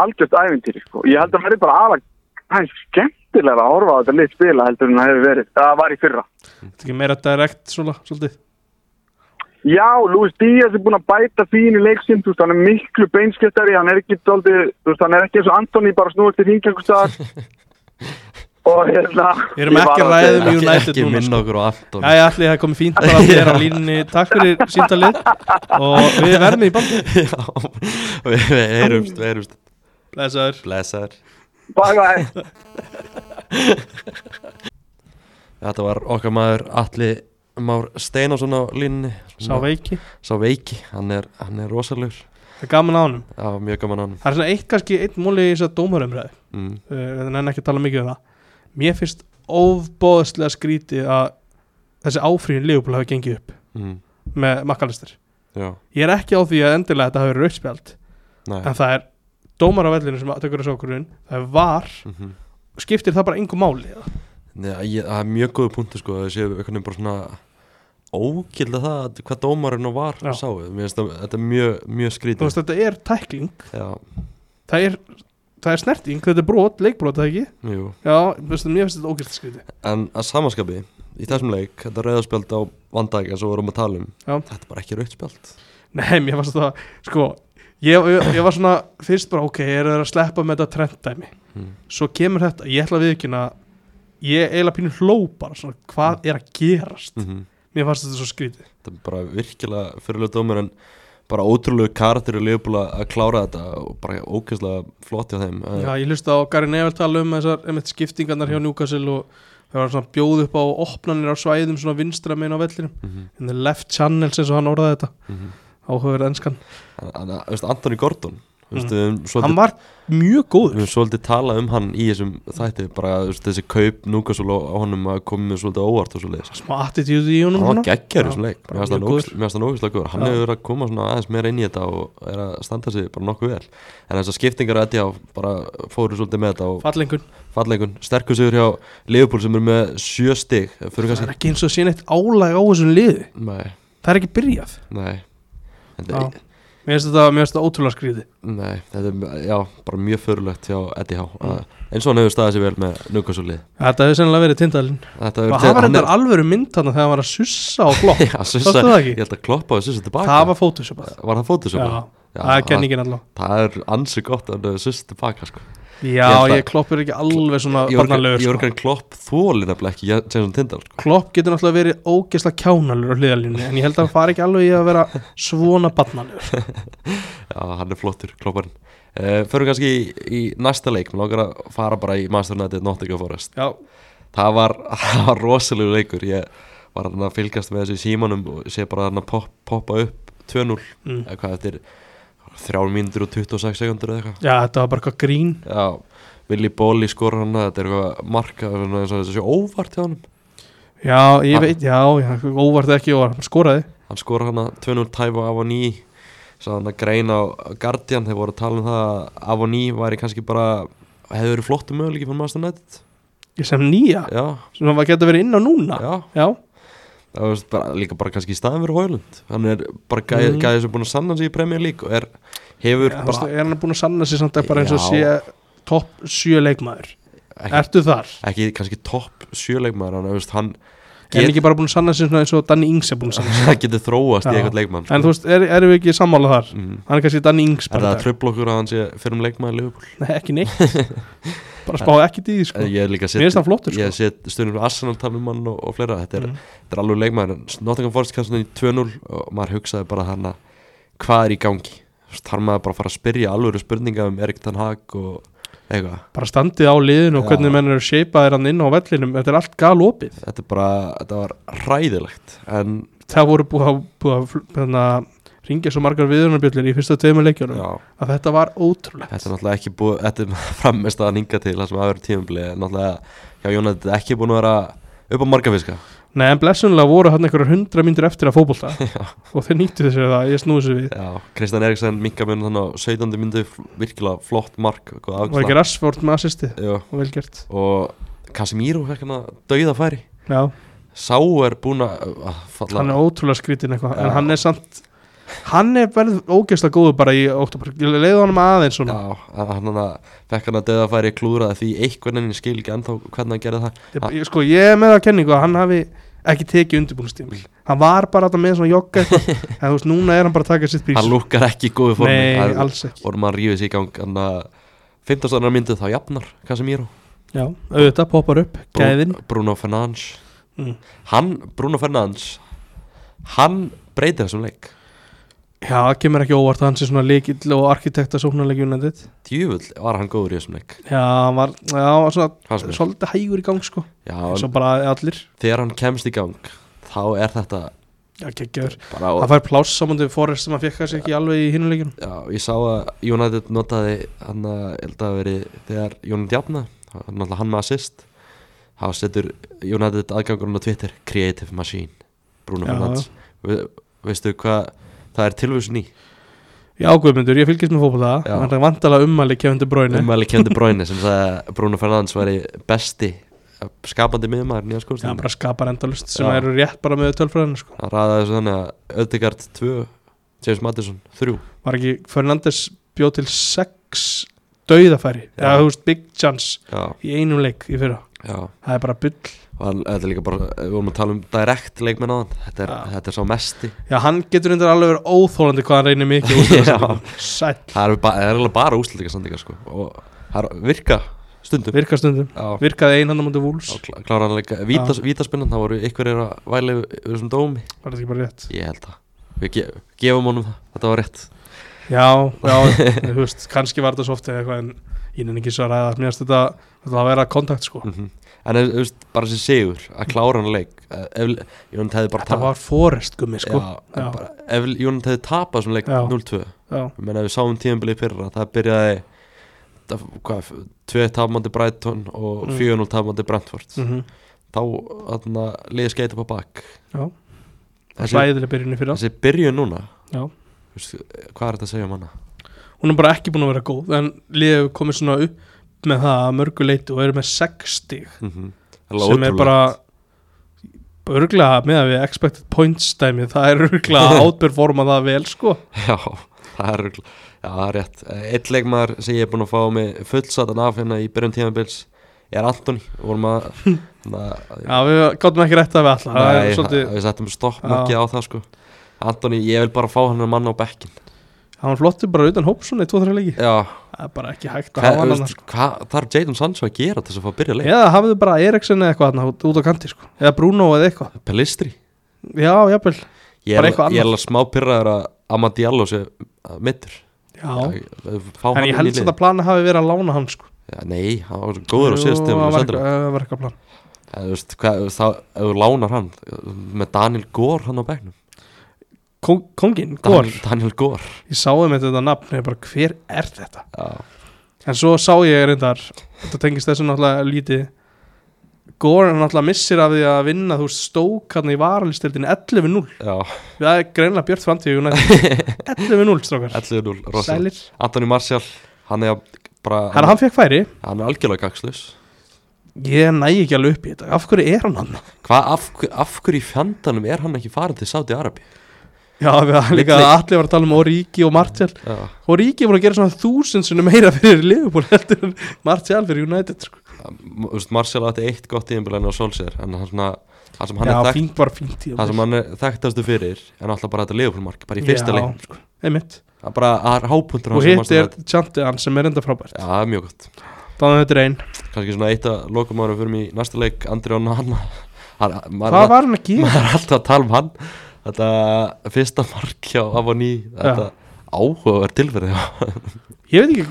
Speaker 5: algjört æfintýri sko. ég held að verði bara aðlag hans skemmtilega að horfa á þetta lið spila heldur en það hefur verið, það var í fyrra
Speaker 4: þetta er ekki meira direkt svona, svolítið
Speaker 5: já, Luis Díaz er búin að bæta fín í leiksinn, þú veist, hann er miklu beinskiptari hann er ekki dóldi, þú veist, hann er ekki eins og Antoni bara snúið til hringjöngustar og hérna
Speaker 4: Við erum
Speaker 5: ég var
Speaker 4: ekki að
Speaker 5: að
Speaker 4: ræða
Speaker 5: segja-
Speaker 4: um
Speaker 3: ekki,
Speaker 4: United
Speaker 3: ekki
Speaker 4: núna
Speaker 3: minna okkur á allt
Speaker 4: Jæja, allir, það er komið fínt bara að þér á línunni Takk fyrir síntalið og við verðum í bandi
Speaker 3: við við heyrumst, við heyrumst
Speaker 4: Blessaður
Speaker 3: blessar
Speaker 5: Bye, bye.
Speaker 3: þetta var okkar maður Alli Már Steinásson á línni
Speaker 4: Sá veiki,
Speaker 3: sá veiki, hann er, hann er rosalegur
Speaker 4: það er gaman á honum
Speaker 3: já, mjög gaman á hann
Speaker 4: Það er svona eitt kannski, eitt múli í þess að dómarumræði
Speaker 3: mm.
Speaker 4: uh, en enn ekki að tala mikið um það Mér finnst óbóðslega skrítið að þessi áfríðin Leopold hafi gengið upp
Speaker 3: Mm.
Speaker 4: með makkalistir
Speaker 3: já,
Speaker 4: Ég er ekki á því að endilega þetta hafi verið rautspjald
Speaker 3: nei
Speaker 4: en það er dómar á vellinu sem tökur þessu okkurinn það er var,
Speaker 3: Mhm.
Speaker 4: skiptir það bara engu máli eða?
Speaker 3: Nei, ég, það er mjög góðu punktu sko, það séu einhvern veginn bara svona ógilda það að hvað dómarinn og var
Speaker 4: Já.
Speaker 3: sáu, mér finnst það, þetta er mjög, mjög
Speaker 4: þú
Speaker 3: skrítið
Speaker 4: veist þetta er tækling
Speaker 3: já,
Speaker 4: það er, það er snerting, þetta er brot, leikbrot það ekki,
Speaker 3: jú,
Speaker 4: já, þú veist mér finnst þetta ógæst skriti,
Speaker 3: en að samaskapi í þessum leik, þetta rauðaspjald á vandag eins og við vorum að tala um,
Speaker 4: Já.
Speaker 3: þetta er bara ekki rauðspjald
Speaker 4: nei mér fannst það sko, ég, ég, ég var svona fyrst bara ok, ég er að sleppa með þetta trenddæmi svo kemur þetta, ég ætla við ekki að ég eiginlega pínu hló bara svona, hvað er að gerast
Speaker 3: Hmm.
Speaker 4: mér fannst þetta svo skriti
Speaker 3: Mhm. þetta er bara virkilega fyrirlega dómur en bara ótrúlegu karakter í liðbúla að klára þetta og bara ógæslega flott hjá þeim
Speaker 4: Já, ég hlusta á Gary Neville tala um þessar einmitt skiptingarnar hjá
Speaker 3: Mm.
Speaker 4: Newcastle og það var svona bjóð upp á opnanir á svæðum svona vinstra megin á vellinum
Speaker 3: Mhm.
Speaker 4: in the left channels eins og hann orðaði þetta mm -hmm. áhugaður enskan
Speaker 3: En- en, þú veist, Anthony Gordon þú veist, við höfum
Speaker 4: Mhm. hann
Speaker 3: svolítið-
Speaker 4: var mjög góður
Speaker 3: við höfum svolítið talað um hann í þessum þætti bara þú veist, þessi kaup núkasól á honum að koma með svolítið óvart og svolítið
Speaker 4: smá attitude í honum
Speaker 3: hann var
Speaker 4: svona.
Speaker 3: geggjör í
Speaker 4: Já,
Speaker 3: þessum leik mér
Speaker 4: bara
Speaker 3: finnst hann
Speaker 4: mjög
Speaker 3: ógeðs- mér finnst hann ógæslega góður hann
Speaker 4: Já.
Speaker 3: hefur verið að koma svona aðeins meira inn í þetta og er að standa sig bara nokkuð vel en þessar skiptingar að þetta bara fóru svolítið með þetta og
Speaker 4: fallengun,
Speaker 3: falleikun sterkur sigur hjá Liverpool sem er með sjö stig fyrir
Speaker 4: það er
Speaker 3: kannski
Speaker 4: ekki eins og sé neitt álag á þessum liði,
Speaker 3: nei
Speaker 4: það er ekki byrjað
Speaker 3: Nei
Speaker 4: Já.
Speaker 3: þetta,
Speaker 4: mér finnst þetta, mér finnst þetta ótrúlega skriði
Speaker 3: nei, þetta er já, bara mjög förulegt hjá Eddie Há mm. eins og hann hefur staðið sér vel með Newcastle-lið
Speaker 4: þetta hefur sennilega verið tindalinn
Speaker 3: Þetta
Speaker 4: og
Speaker 3: hefur
Speaker 4: það var
Speaker 3: hann er-
Speaker 4: reyndar alvöru mynd þarna þegar hann var að sussa á flokk
Speaker 3: Já, sussa,
Speaker 4: Sástu það ekki?
Speaker 3: ég held að kloppa og sussa tilbaka
Speaker 4: það var fótusjöpað
Speaker 3: Var það fótusöpa?
Speaker 4: Já, það er kenningin allavega
Speaker 3: Það er ansi gott að hann sussa tilbaka sko.
Speaker 4: Já,
Speaker 3: held að-
Speaker 4: ég kloppur ekki alveg svona barnalegur sko.
Speaker 3: Jörgan Klopp þóli nefnilega ekki Jen- Jenson Tindal sko.
Speaker 4: Klopp getur náttúrulega verið ógeðslega kjánalur á hliðalínu en ég held að hann fari ekki alveg í að vera svona barnalur
Speaker 3: Já, hann er flottur, klopparinn uh, Förum kannski í, í næsta leik Mér langar að fara bara í Master United Nottingham Forest
Speaker 4: Já,
Speaker 3: það var, það var rosalegu leikur ég var hann að fylgast með þessu í símanum og sé bara hann að pop, poppa upp 2-0
Speaker 4: Mm.
Speaker 3: eða hvað þetta er 3 mínútur og 26 sekundur eða eitthvað
Speaker 4: Já, þetta var bara eitthvað grín
Speaker 3: Já, Willi Bóli skor hann þetta er eitthvað marka svona eins og þessu óvart hjá honum
Speaker 4: Já, ég
Speaker 3: Ha.
Speaker 4: veit, já, já óvart eða ekki óvart, hann skoraði
Speaker 3: hann skora hann að 2-0 tæfa af og ný sá hann að greina á Guardian þeir voru að tala um það að af og ný væri kannski bara hefur verið flottu möguleiki fyrir Master United
Speaker 4: Ég sem nýja,
Speaker 3: já,
Speaker 4: sem hann geta verið inn á núna
Speaker 3: já,
Speaker 4: já.
Speaker 3: það var bara, líka bara kannski í staðin fyrir Hoylund hann er bara gæði,
Speaker 4: Mm.
Speaker 3: gæði sem búin að sanna sig í Premier League og er, hefur
Speaker 4: Já,
Speaker 3: bara
Speaker 4: bara, er hann búin að sanna sig samt að bara eins og sé
Speaker 3: Já.
Speaker 4: topp sjö leikmaður
Speaker 3: ekki,
Speaker 4: Ertu þar?
Speaker 3: ekki kannski topp sjöleikmaður hann, þú veist, hann
Speaker 4: Get... En
Speaker 3: get,
Speaker 4: ekki bara búin að sanna sig svona eins og Danny Ings er búin að sanna sig
Speaker 3: getur þróast
Speaker 4: Já.
Speaker 3: í eitthvað leikmann sko.
Speaker 4: En þú veist, er, erum við ekki sammála þar?
Speaker 3: mm.
Speaker 4: Hann er kannski Danny Ings
Speaker 3: er það
Speaker 4: bara í
Speaker 3: að
Speaker 4: dag.
Speaker 3: tröfla okkur að hann sé fyrir um leikmaður í Liverpool
Speaker 4: Nei, ekki neitt Bara spáði ekki því, sko
Speaker 3: Eh, ég er líka að
Speaker 4: Mér
Speaker 3: setja
Speaker 4: finnst það flottur, sko
Speaker 3: ég set stundum Arsenal talum mann og, og fleira þetta er,
Speaker 4: Mm.
Speaker 3: þetta er alveg leikmaður en Nottingham Forest kannski í 2-0 og maður hugsaði bara hana hvað er í gangi Þú veist, þarf maður bara að fara að spyrja alvöru spurninga um Erik Tan Hag og eitthvað
Speaker 4: Bara standið á liðinu og
Speaker 3: Já.
Speaker 4: hvernig menn eru shapaðir hann inn á vellinum Þetta er allt galopið
Speaker 3: þetta er bara, þetta var ræðilegt en
Speaker 4: það voru búið að, búið að fl- hérna, ringja svo margar viðurnarbjöllir í fyrsta tveimur leikjunum
Speaker 3: já,
Speaker 4: að þetta var ótrúlegt
Speaker 3: þetta er náttúrulega ekki búið þetta er frammest að hinga til það sem aðverju tímabli en náttúrulega hjá Jónat þetta er ekki búin að vera upp á margafiska
Speaker 4: Nei, en blessunlega voru hann einhverjar hundra myndir eftir að fótbolta og þeir nýttu þessu það, ég snúi þessu við
Speaker 3: já, Kristján Eriksson minka mun þannig á 17. myndu virkilega flott mark góð
Speaker 4: og ekki
Speaker 3: afkasta.
Speaker 4: Rashford með assisti
Speaker 3: Já.
Speaker 4: og velgjert
Speaker 3: og Casemiro fekk hann að dauða færi
Speaker 4: Já,
Speaker 3: Sá er búin að að falla
Speaker 4: hann er ótrúlega skrítin eitthvað en
Speaker 3: Já.
Speaker 4: hann er samt hann er verið ógeðslega góður bara í oktober ég leiði honum aðeins svona
Speaker 3: Já, að- hann hann að fekk hann að dauða færi klúraði því eitthvað en ég skil ekki ennþá hvernig hann gerði það
Speaker 4: ég, ég- sko, ég er með það að kenningu að hann hafi ekki tekið undirbúinnstímil hann var bara þetta með svona jogga eitthvað en þú veist, núna er hann bara að taka sitt prís
Speaker 3: Hann lúkar ekki í góðu formi
Speaker 4: Nei,
Speaker 3: Það-
Speaker 4: alls ekki
Speaker 3: Og maður rífið sér í gang hann að 15. myndu þá jafnar Casemiro
Speaker 4: Já, auðvitað poppar upp
Speaker 3: Brú-
Speaker 4: Gæðin
Speaker 3: Bruno Fernandes
Speaker 4: Mm.
Speaker 3: Hann, Bruno Fernandes Hann breytir þessum leik
Speaker 4: Já, það kemur ekki óvart að hann sé svona leikill og arkitekt að sóknarleik United
Speaker 3: Djöfull var hann góður í þessum leik
Speaker 4: Já, hann var, já, hann var svona
Speaker 3: fannst mér.
Speaker 4: svolítið hægur í gang sko
Speaker 3: Já,
Speaker 4: Svo
Speaker 3: en
Speaker 4: bara allir,
Speaker 3: þegar hann kemst í gang þá er þetta
Speaker 4: já, geggjaður
Speaker 3: bara
Speaker 4: Það fær pláss samandu Forrest sem hann fekk að sé ekki alveg í hinuleikinu
Speaker 3: Já, ég sá að United notaði hann að held að veri þegar United jafna, hann náttúrulega hann með assist þá setur United aðgangurinn á Twitter, Creative Machine Bruno
Speaker 4: Já.
Speaker 3: Fernandes Ve, veistu hvað, það er tilvísun í
Speaker 4: Já, Guðmundur, ég fylgist með fótbolta
Speaker 3: Já.
Speaker 4: Hann er vandalega ummæli Kevin De Bruyne
Speaker 3: umæli kemdi bróinu sem sagði að Bruno Fernandes væri besti skapandi miðmaður nýja
Speaker 4: Já, hann
Speaker 3: skóðstunum
Speaker 4: bara skapar endalust sem
Speaker 3: Já.
Speaker 4: eru rétt bara með tölfræðinu sko
Speaker 3: hann ræði þessu þannig að Ödegard 2 James Madison 3
Speaker 4: Var ekki Fernandes bjóð til sex dauðafæri
Speaker 3: Já.
Speaker 4: Já, þú veist, big chance
Speaker 3: já,
Speaker 4: í einum leik í fyrra
Speaker 3: já
Speaker 4: Það er bara bull
Speaker 3: og hann, þetta er líka bara, við vorum að tala um direkt leikmenn á hann, þetta er,
Speaker 4: Já.
Speaker 3: þetta er sá mesti
Speaker 4: Já, hann getur undir alveg verið óþólandi hvað hann reynir mikið út af þessu. Sætt,
Speaker 3: Það er, ba það er eiginlega bara úslitika sandingar sko og það er- virka stundum
Speaker 4: virka stundum
Speaker 3: Já,
Speaker 4: Virkaði einhanda mútið vúls
Speaker 3: og klá- klára hann leika Vítas, Vítaspinnan, það voru ykkur að væla yfir yfir þessum dómi
Speaker 4: Var þetta ekki bara rétt?
Speaker 3: Ég held það Við ge gefum honum það, þetta var rétt
Speaker 4: Já, já, þú veist, kannski var þetta svo oft eða eitthvað en ég nenni ekki svo að ræða Mér finnst þetta, þetta var að vera kontakt sko
Speaker 3: mm En þú veist, bara þessi sigur að klára hann leik Eh, ef, Jónat hefði bara
Speaker 4: Þetta
Speaker 3: tap-
Speaker 4: var forest gummi sko
Speaker 3: Já,
Speaker 4: Já.
Speaker 3: en bara, ef Jónat hefði tapað sem leik
Speaker 4: Já.
Speaker 3: 0-2
Speaker 4: Já,
Speaker 3: Ég meina, við sáum tíðanbilið fyrra, það byrjaði það, hvað, tvö tapmandi Brighton og
Speaker 4: Mm.
Speaker 3: 4-0 tapmandi Brentford
Speaker 4: mhm
Speaker 3: þá þarna liðið skeita på bakk
Speaker 4: Já.
Speaker 3: þessi,
Speaker 4: Slæðileg byrjunni fyrir
Speaker 3: þessi byrjun núna
Speaker 4: Já.
Speaker 3: Veistu, hvað er þetta að segja um hana
Speaker 4: Hún er bara ekki búin að vera góð En liðið hefur komið svona upp með það að mörgu leiti og eru með 6 stig
Speaker 3: mm -hmm.
Speaker 4: sem er bara örglega með að við expected points dæmi, það er örglega átperforma það vel sko
Speaker 3: já, það er, rugl- já, það er rétt eitt leikmaður sem ég er búin að fá mig fullsatan af hérna í byrjun tímabils er Antoni vorum að
Speaker 4: Já, við gáttum ekki rétt að við alla það er svolítið,
Speaker 3: við settum stopp
Speaker 4: Já.
Speaker 3: ekki á það sko Antoni, ég vil bara fá hann mann á bekkin
Speaker 4: hann flottir bara utan hópsuna í 2-3 leiki
Speaker 3: já,
Speaker 4: það er bara ekki hægt að
Speaker 3: hvað
Speaker 4: hafa hann annars
Speaker 3: veist, hva, þarf Jadon Sancho að gera til þess að fá að byrja leik
Speaker 4: eða hafðu bara Eriksen eða eitthvað þarna út- út á kanti sko eða Bruno eða eitthvað,
Speaker 3: Pelistri
Speaker 4: já, jafnvel
Speaker 3: Ég
Speaker 4: Bara
Speaker 3: er, ég er
Speaker 4: eitthvað annað.
Speaker 3: alveg smá pyrraður að Amma Diallo sé að mittur
Speaker 4: já,
Speaker 3: En
Speaker 4: en ég held samt að plana hafi verið að lána hann sko
Speaker 3: Nei, hann var svo góður á síðast tíma
Speaker 4: það var
Speaker 3: Það
Speaker 4: eitthvað- það var eitthvað plan
Speaker 3: Eða, þú veist, hvað, þá, ef þú lánar hann með Daniel Gór hann á bekknum
Speaker 4: Kong, Kongin, Gór
Speaker 3: Daniel, Daniel Gór
Speaker 4: Ég sáði með þetta nafn, ég bara hver er þetta?
Speaker 3: Já,
Speaker 4: En svo sá ég reyndar Þetta tengist þessu náttúrulega lítið Gór hann náttúrulega missir af því að vinna Þú veist stók hann í varalistildin 11-0
Speaker 3: já,
Speaker 4: Það er greinlega Björt Framtíð United 11-0 strákar
Speaker 3: 11-0, rosalega
Speaker 4: Sælir
Speaker 3: Antoni Marcial, hann er bara
Speaker 4: Hann, hann fekk færi
Speaker 3: hann er algjörlega gagslus
Speaker 4: Ég næ ekki alveg upp í þetta Af hverju er hann hann?
Speaker 3: Hvað, af, hver- af hverju í fjandanum er hann ekki farin til Saudi Arabi?
Speaker 4: Já, við að líka að allir var að tala um Origi og Martial
Speaker 3: Já,
Speaker 4: Origi voru að gera svona þúsundsunum meira fyrir Liverpool heldur en Martial fyrir United sko.
Speaker 3: m- þú veist, Marcial átti eitt gott íðinbjörn á Solskjær en hann svona, það sem hann
Speaker 4: Já,
Speaker 3: er þekkt
Speaker 4: fínt var fínt í
Speaker 3: það sem hann er þekktastu fyrir en alltaf bara þetta leifurmark, bara í fyrsta leik
Speaker 4: sko. einmitt
Speaker 3: Það er bara það er hápunktur
Speaker 4: og
Speaker 3: hans sem
Speaker 4: hitt
Speaker 3: Manchester
Speaker 4: er
Speaker 3: United-
Speaker 4: tjantið hann sem er enda frábært
Speaker 3: Já, það er mjög gott
Speaker 4: þannig að þetta er einn
Speaker 3: kannski svona eitt að lokum ára fyrir mig í næsta leik Andri Ón Hanna hann, maður,
Speaker 4: hvað var hann að gera?
Speaker 3: maður er alltaf að tala um hann þetta fyrsta mark hjá Avoní þetta áhugaverð tilferði
Speaker 4: ég veit ekki,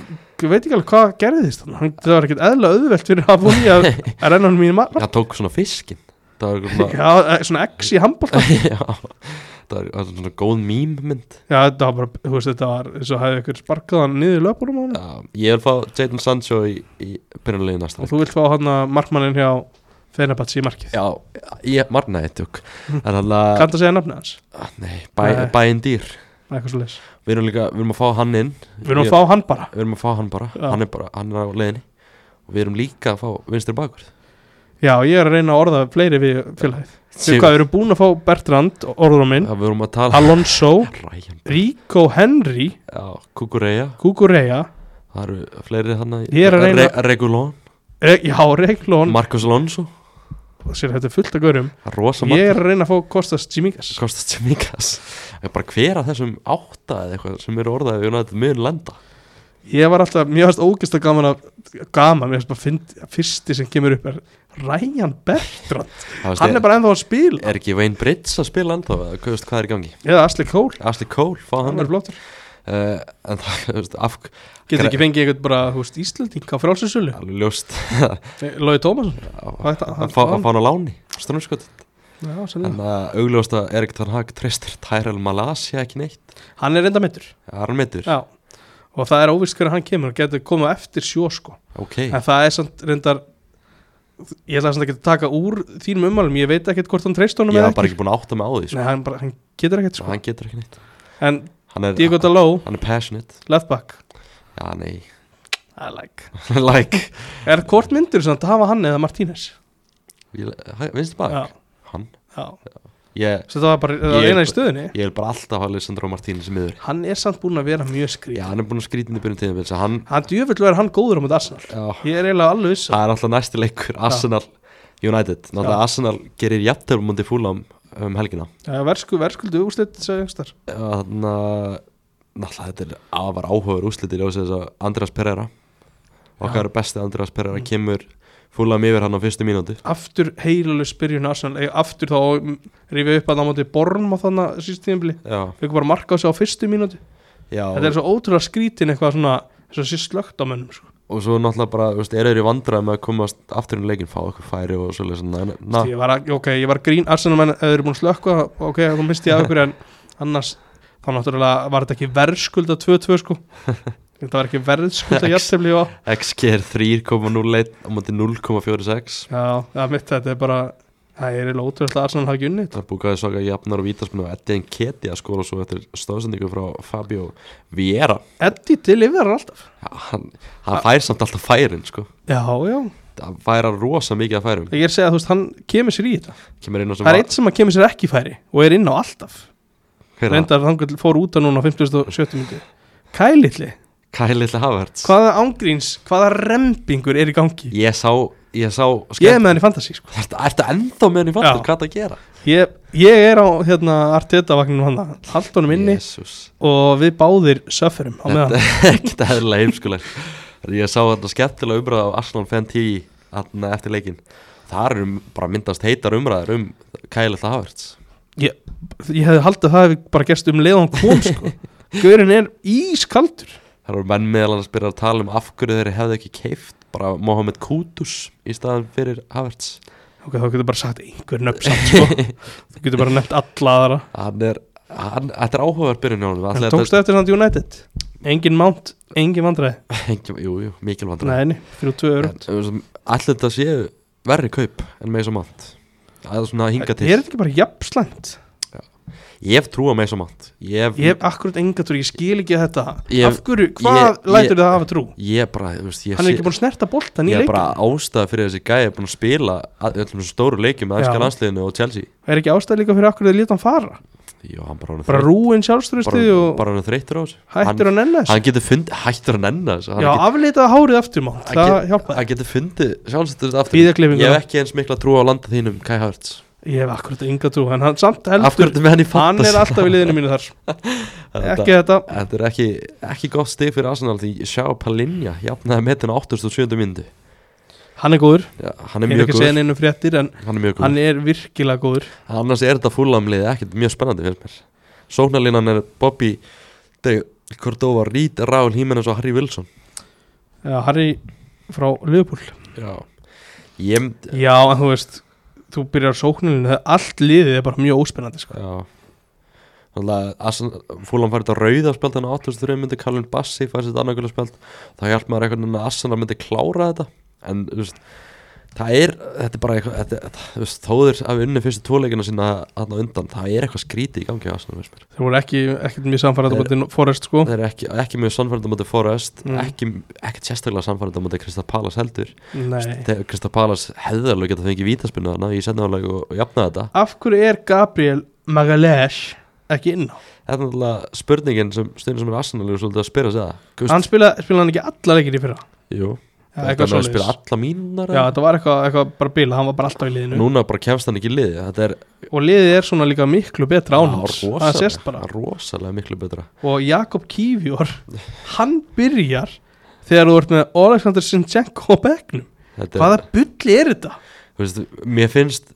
Speaker 4: ég veit ekki alveg hvað gerðist hann Hann- það var ekkert eðla auðvelt fyrir að búin í að að renna hann mínu maður
Speaker 3: hann tók svona fiskin það var svona,
Speaker 4: já, eh, svona X í handbólta
Speaker 3: já, það var, það var svona góð mýmmynd
Speaker 4: já, þetta var bara, þú veist, þetta var eins og hafði ykkur sparkað hann niður í löpunum á hann
Speaker 3: ég vil fá Jadon Sancho í, í byrjunlegu næsta
Speaker 4: og
Speaker 3: leik
Speaker 4: þú vilt fá hann að markmannin hjá Feinabatsi í markið
Speaker 3: já, ég marnaði þetta juk en þannig
Speaker 4: kanntu að segja nafnið hans?
Speaker 3: að, Ah, nei, bæ- bæinn dýr
Speaker 4: eitthvað svo leis
Speaker 3: við erum líka, við erum að fá hann inn
Speaker 4: við erum að fá hann bara
Speaker 3: við erum að fá hann bara,
Speaker 4: Já.
Speaker 3: hann er bara, hann er á leiðinni og við erum líka að fá vinstri bakur
Speaker 4: já, ég er að reyna að orða fleiri við félagið við
Speaker 3: Sigur.
Speaker 4: hvað við erum búin að fá Bertrand, orðróminn
Speaker 3: það við erum að tala
Speaker 4: Alonso,
Speaker 3: Ryan,
Speaker 4: Rico Henry
Speaker 3: já, Kukureya,
Speaker 4: Kukureya
Speaker 3: það eru fleiri hann
Speaker 4: Ég er að reyna-
Speaker 3: Regulón,
Speaker 4: Re já, Reglón
Speaker 3: Marcos Alonso
Speaker 4: sér þetta er fullt af gaurum
Speaker 3: það er rosa
Speaker 4: ég er
Speaker 3: margir
Speaker 4: að reyna að fá Kostas Tsimikas
Speaker 3: Kostas Tsimikas Það er bara hver af þessum átta eða eitthvað sem eru orðaði við náttúrulega mun lenda
Speaker 4: ég var alltaf, mér varst ógist að gaman að gaman, mér varst bara fynd, fyrsti sem kemur upp er Ryan Bertrand
Speaker 3: Það veist,
Speaker 4: hann
Speaker 3: er,
Speaker 4: er bara ennþá að spila
Speaker 3: er ekki Wayne Brits að spila ennþá eða hvað veist hvað er í gangi
Speaker 4: eða Asli Kól,
Speaker 3: Asli Cole, fá hann
Speaker 4: hann er
Speaker 3: uh,
Speaker 4: flottur
Speaker 3: en það, þú veist, af
Speaker 4: getur
Speaker 3: Gre-
Speaker 4: ekki fengið eitthvað bara, þú veist, Íslanding á frálsinsölu,
Speaker 3: alveg ljóst
Speaker 4: Lói Tómasson
Speaker 3: að
Speaker 4: Hvað
Speaker 3: að
Speaker 4: er þetta?
Speaker 3: fá að fá hann á láni, strömskot
Speaker 4: Já, sennilega.
Speaker 3: Þannig að augljósta Erik Tan Hag treystir Tyrell Malasia ekki neitt
Speaker 4: hann er reynda mittur
Speaker 3: Armitur,
Speaker 4: Já, og það er óvist hverju hann kemur og getur komið á eftir sjó sko
Speaker 3: ok
Speaker 4: en það er samt reyndar ég ætla samt ekki að taka úr þínum ummálum ég veit ekkert hvort hann treyst honum
Speaker 3: Ég
Speaker 4: eða
Speaker 3: var bara ekki búin að átta mig á því
Speaker 4: Nei,
Speaker 3: sko.
Speaker 4: hann, bara, hann getur ekkert sko
Speaker 3: Hann getur ekki neitt
Speaker 4: en
Speaker 3: Hann er,
Speaker 4: Diego
Speaker 3: hann,
Speaker 4: Daló,
Speaker 3: er passionate
Speaker 4: left back
Speaker 3: Já, nei
Speaker 4: I like
Speaker 3: Like
Speaker 4: er hvort myndur samt að hafa hann eða Martínez
Speaker 3: Vinstu
Speaker 4: Já.
Speaker 3: bara Hann
Speaker 4: já
Speaker 3: Ég
Speaker 4: Svo það var bara það var
Speaker 3: Ég-
Speaker 4: eina í stöðunni
Speaker 3: ég er bara alltaf að Alessandro Martínez miður
Speaker 4: hann er samt búin að vera mjög skrít
Speaker 3: Já, hann er búin að skrýta inn í byrjum tíðum Hann,
Speaker 4: hann djöfull verður hann góður á mót Arsenal
Speaker 3: já
Speaker 4: ég er eiginlega alveg viss um
Speaker 3: Það er alltaf næsti leikur Arsenal United Náttúrulega
Speaker 4: Já.
Speaker 3: Arsenal gerir jafntöfum múndi fúla um, um helgina
Speaker 4: að verðskuldu verskuldu úrslit sagði einhvers staðar.
Speaker 3: Þannig að Náttúrulega þetta er afar áhugaður úslitir Ljósið þess að Andreas Pereira Okkar besti Andreas Pereira
Speaker 4: Mm.
Speaker 3: kemur Fúlam yfir hann á fyrstu mínúti
Speaker 4: aftur heilalus byrjun Arsenal eh, aftur þá rifið upp að það móti Born á þannig síst tíðinbili
Speaker 3: Já,
Speaker 4: fekk bara marka á sig á fyrstu mínúti
Speaker 3: já
Speaker 4: þetta er svo ótrúlega skrítin eitthvað svona þess að sé slögt á mönnum sko.
Speaker 3: Og svo náttúrulega bara, þú veist, eru þeir í vandræði með að komast aftur inn í leikin Fá okkur færi og svoleið svona en- Na,
Speaker 4: ég var, að- ok, ég var grín Arsenal menn, ef þau eru búin að slökka ok, þá misti ég af ykkur en annars þá náttúrulega var þetta ekki verðskulda 2-2 sko þetta var ekki verðskulda jættefli já,
Speaker 3: XG er 3,01 á móti 0,46
Speaker 4: það er mitt þetta er bara það er eiginlega ótrúlega að Arsenal hafa ekki unnið
Speaker 3: Það búkaði svaka jafnar og vítaspunni og Eddie Nketi að skora svo eftir stóðsendingu frá Fabio Viera
Speaker 4: Eddie deliverar alltaf
Speaker 3: Já, hann, hann fær samt alltaf færin, sko
Speaker 4: já, já,
Speaker 3: Hann færar rosa mikið af færum
Speaker 4: ég er að segja þú veist hann kemur sér í þetta
Speaker 3: Kemur inn á sem
Speaker 4: það er eitt sem að kemur sér ekki í færi og er inn á alltaf
Speaker 3: Hver er það?
Speaker 4: reyndar þangur fór út að núna á 57. myndi Kælitli,
Speaker 3: Kyle Little Havertz
Speaker 4: hvaða ángríns hvaða rempingur er í gangi
Speaker 3: Ég sá, ég sá
Speaker 4: ég er með hann í fantasy sko.
Speaker 3: Ertu, ertu ennþá með henni
Speaker 4: Já.
Speaker 3: fattur hvað það að gera?
Speaker 4: ég, ég er á hérna, Arteta vagnum hann hald honum inni
Speaker 3: Jésús
Speaker 4: og við báðir sufferum á meðan
Speaker 3: Þetta er ekkert eðlilega heimskuleg Ég sá þetta skemmtilega umræða af Arsenal Fan 10 þarna eftir leikin Þar eru bara myndast heitar umræðar um Kyle Little Havertz
Speaker 4: ég, ég hefði haldið að það hefði bara gerst um leið og hann kom sko. Gaurin er ískaldur
Speaker 3: Það eru menn meðal annars byrjar að tala um af hverju þeir hefðu ekki keift bara Mohamed Kudus í staðan fyrir Havertz
Speaker 4: ok, þá getur bara sagt einhver nöfn samt sko þú getur bara nefnt alla aðra
Speaker 3: Hann er, hann, þetta er áhugaverð byrjun hjá honum
Speaker 4: en
Speaker 3: Ætli
Speaker 4: tókstu eftir samt United engin mount, engin vandræði
Speaker 3: þetta- Engin- Jú, jú, mikil vandræði
Speaker 4: neini, þrjú tvö öru
Speaker 3: Allir þetta séu verri kaup en Mason Mount Það er svona hinga
Speaker 4: er
Speaker 3: til
Speaker 4: þetta ekki bara jafnslæmt
Speaker 3: Ég hef trú á Mason Mount Ég hef,
Speaker 4: ég hef akkurat enga trú, ég skil ekki þetta
Speaker 3: Ég-
Speaker 4: af hverju, hvað
Speaker 3: ég- ég-
Speaker 4: lætur það hafa trú
Speaker 3: ég bara þú veist, ég
Speaker 4: hann er
Speaker 3: sé-
Speaker 4: ekki búin að snerta boltan í
Speaker 3: Ég er
Speaker 4: leikin
Speaker 3: bara ástæða fyrir þessi gæði búin að spila að- öllum þessum stóru leikjum með
Speaker 4: Já.
Speaker 3: ennska landsliðinu og Chelsea
Speaker 4: er ekki ástæð líka fyrir akkur þau lítið hann fara
Speaker 3: Jó, hann bara orðinn
Speaker 4: bara
Speaker 3: þreytt-
Speaker 4: rúin sjálfstöðusti
Speaker 3: bara-
Speaker 4: og
Speaker 3: bara hann þreyttur á þessu
Speaker 4: hættur að nenna
Speaker 3: Hann
Speaker 4: þess
Speaker 3: getur fundið, hættur að nenna þessu Hann
Speaker 4: já,
Speaker 3: getur-
Speaker 4: aflitaða hárið aftur mán
Speaker 3: hann
Speaker 4: það
Speaker 3: get-
Speaker 4: hjálpaði
Speaker 3: Hann getur fundið sjálfstæðist aftur
Speaker 4: Bíða klippingu.
Speaker 3: Ég hef ekki eins mikla trú á landa þínum Kai Havertz
Speaker 4: ég hef akkurat enga trú, en hann samt
Speaker 3: Af
Speaker 4: heldur
Speaker 3: hverju ertu með hann í
Speaker 4: hann
Speaker 3: fantasy?
Speaker 4: er alltaf í liðinu mínu þar
Speaker 3: Þetta-
Speaker 4: ekki þetta,
Speaker 3: Þetta er ekki, ekki gott stig fyrir Arsenal því sjá Palinja jafnaði metin á 87. myndu
Speaker 4: hann er góður
Speaker 3: Já, hann er
Speaker 4: ég er
Speaker 3: mjög
Speaker 4: ekki að segja
Speaker 3: góður
Speaker 4: neinu fréttir en
Speaker 3: Hann er mjög góður
Speaker 4: hann er virkilega góður
Speaker 3: Annars er þetta fullamlið ekkert mjög spennandi fyrir mér Sóknarlinan er Bobby De Cordova, Reed, Raúl Hímenes og Harry Wilson
Speaker 4: já, Eh, Harry frá Liverpool
Speaker 3: Já Ég myndi
Speaker 4: já, en þú veist, þú byrjar sóknilinu allt liðið er bara mjög óspennandi sko.
Speaker 3: Já Þannig fúlan færði þetta rauða spjald þannig að 83 myndi Kalvin Bassi færði þetta annarkulega spjald þá hjálp maður einhvern veginn að Arsenal myndi klára þetta en þú veist það er, þetta er bara eitthvað þetta, þetta, þú veist, þóðir af unni fyrstu tóleikina sína þarna á undan, það er eitthvað skrítið í gangi á Arsenal, veist mér
Speaker 4: þeir voru ekki, ekkert mjög samfærað á
Speaker 3: Þeir-
Speaker 4: bóti Forrest sko
Speaker 3: Það er ekki, ekki mjög sannfærandi á móti Forrest
Speaker 4: Mm.
Speaker 3: ekki, ekkert sérstaklega sannfærandi á móti Krista Palas heldur
Speaker 4: Nei.
Speaker 3: þegar Krista Palas hefði alveg getað fengið vítaspinnu þarna í setnaðaleg og, og jafnaði þetta
Speaker 4: af hverju er Gabriel Magalesh ekki inn á
Speaker 3: þetta er náttúrulega spurningin sem stundin sem er Arsenal er svolítið að spyrja sig það Gust,
Speaker 4: hann spilaði spila hann ekki alla leikir í fyrra
Speaker 3: Jú,
Speaker 4: Já,
Speaker 3: þetta
Speaker 4: eitthvað
Speaker 3: er að spila
Speaker 4: svoleiðis.
Speaker 3: alla mínunar
Speaker 4: já, þetta var eitthvað, eitthvað bara bíla, hann var bara alltaf í liðinu
Speaker 3: núna bara kemst hann ekki í liði þetta er
Speaker 4: og liðið er svona líka miklu betra
Speaker 3: Já,
Speaker 4: ánans það sést bara
Speaker 3: rosalega, rosalega miklu betra
Speaker 4: og Jakob Kívjór hann byrjar þegar þú ert með Oleksandr Sinchenko á begnum
Speaker 3: þetta
Speaker 4: hvaða bulli er þetta?
Speaker 3: þú veist, mér finnst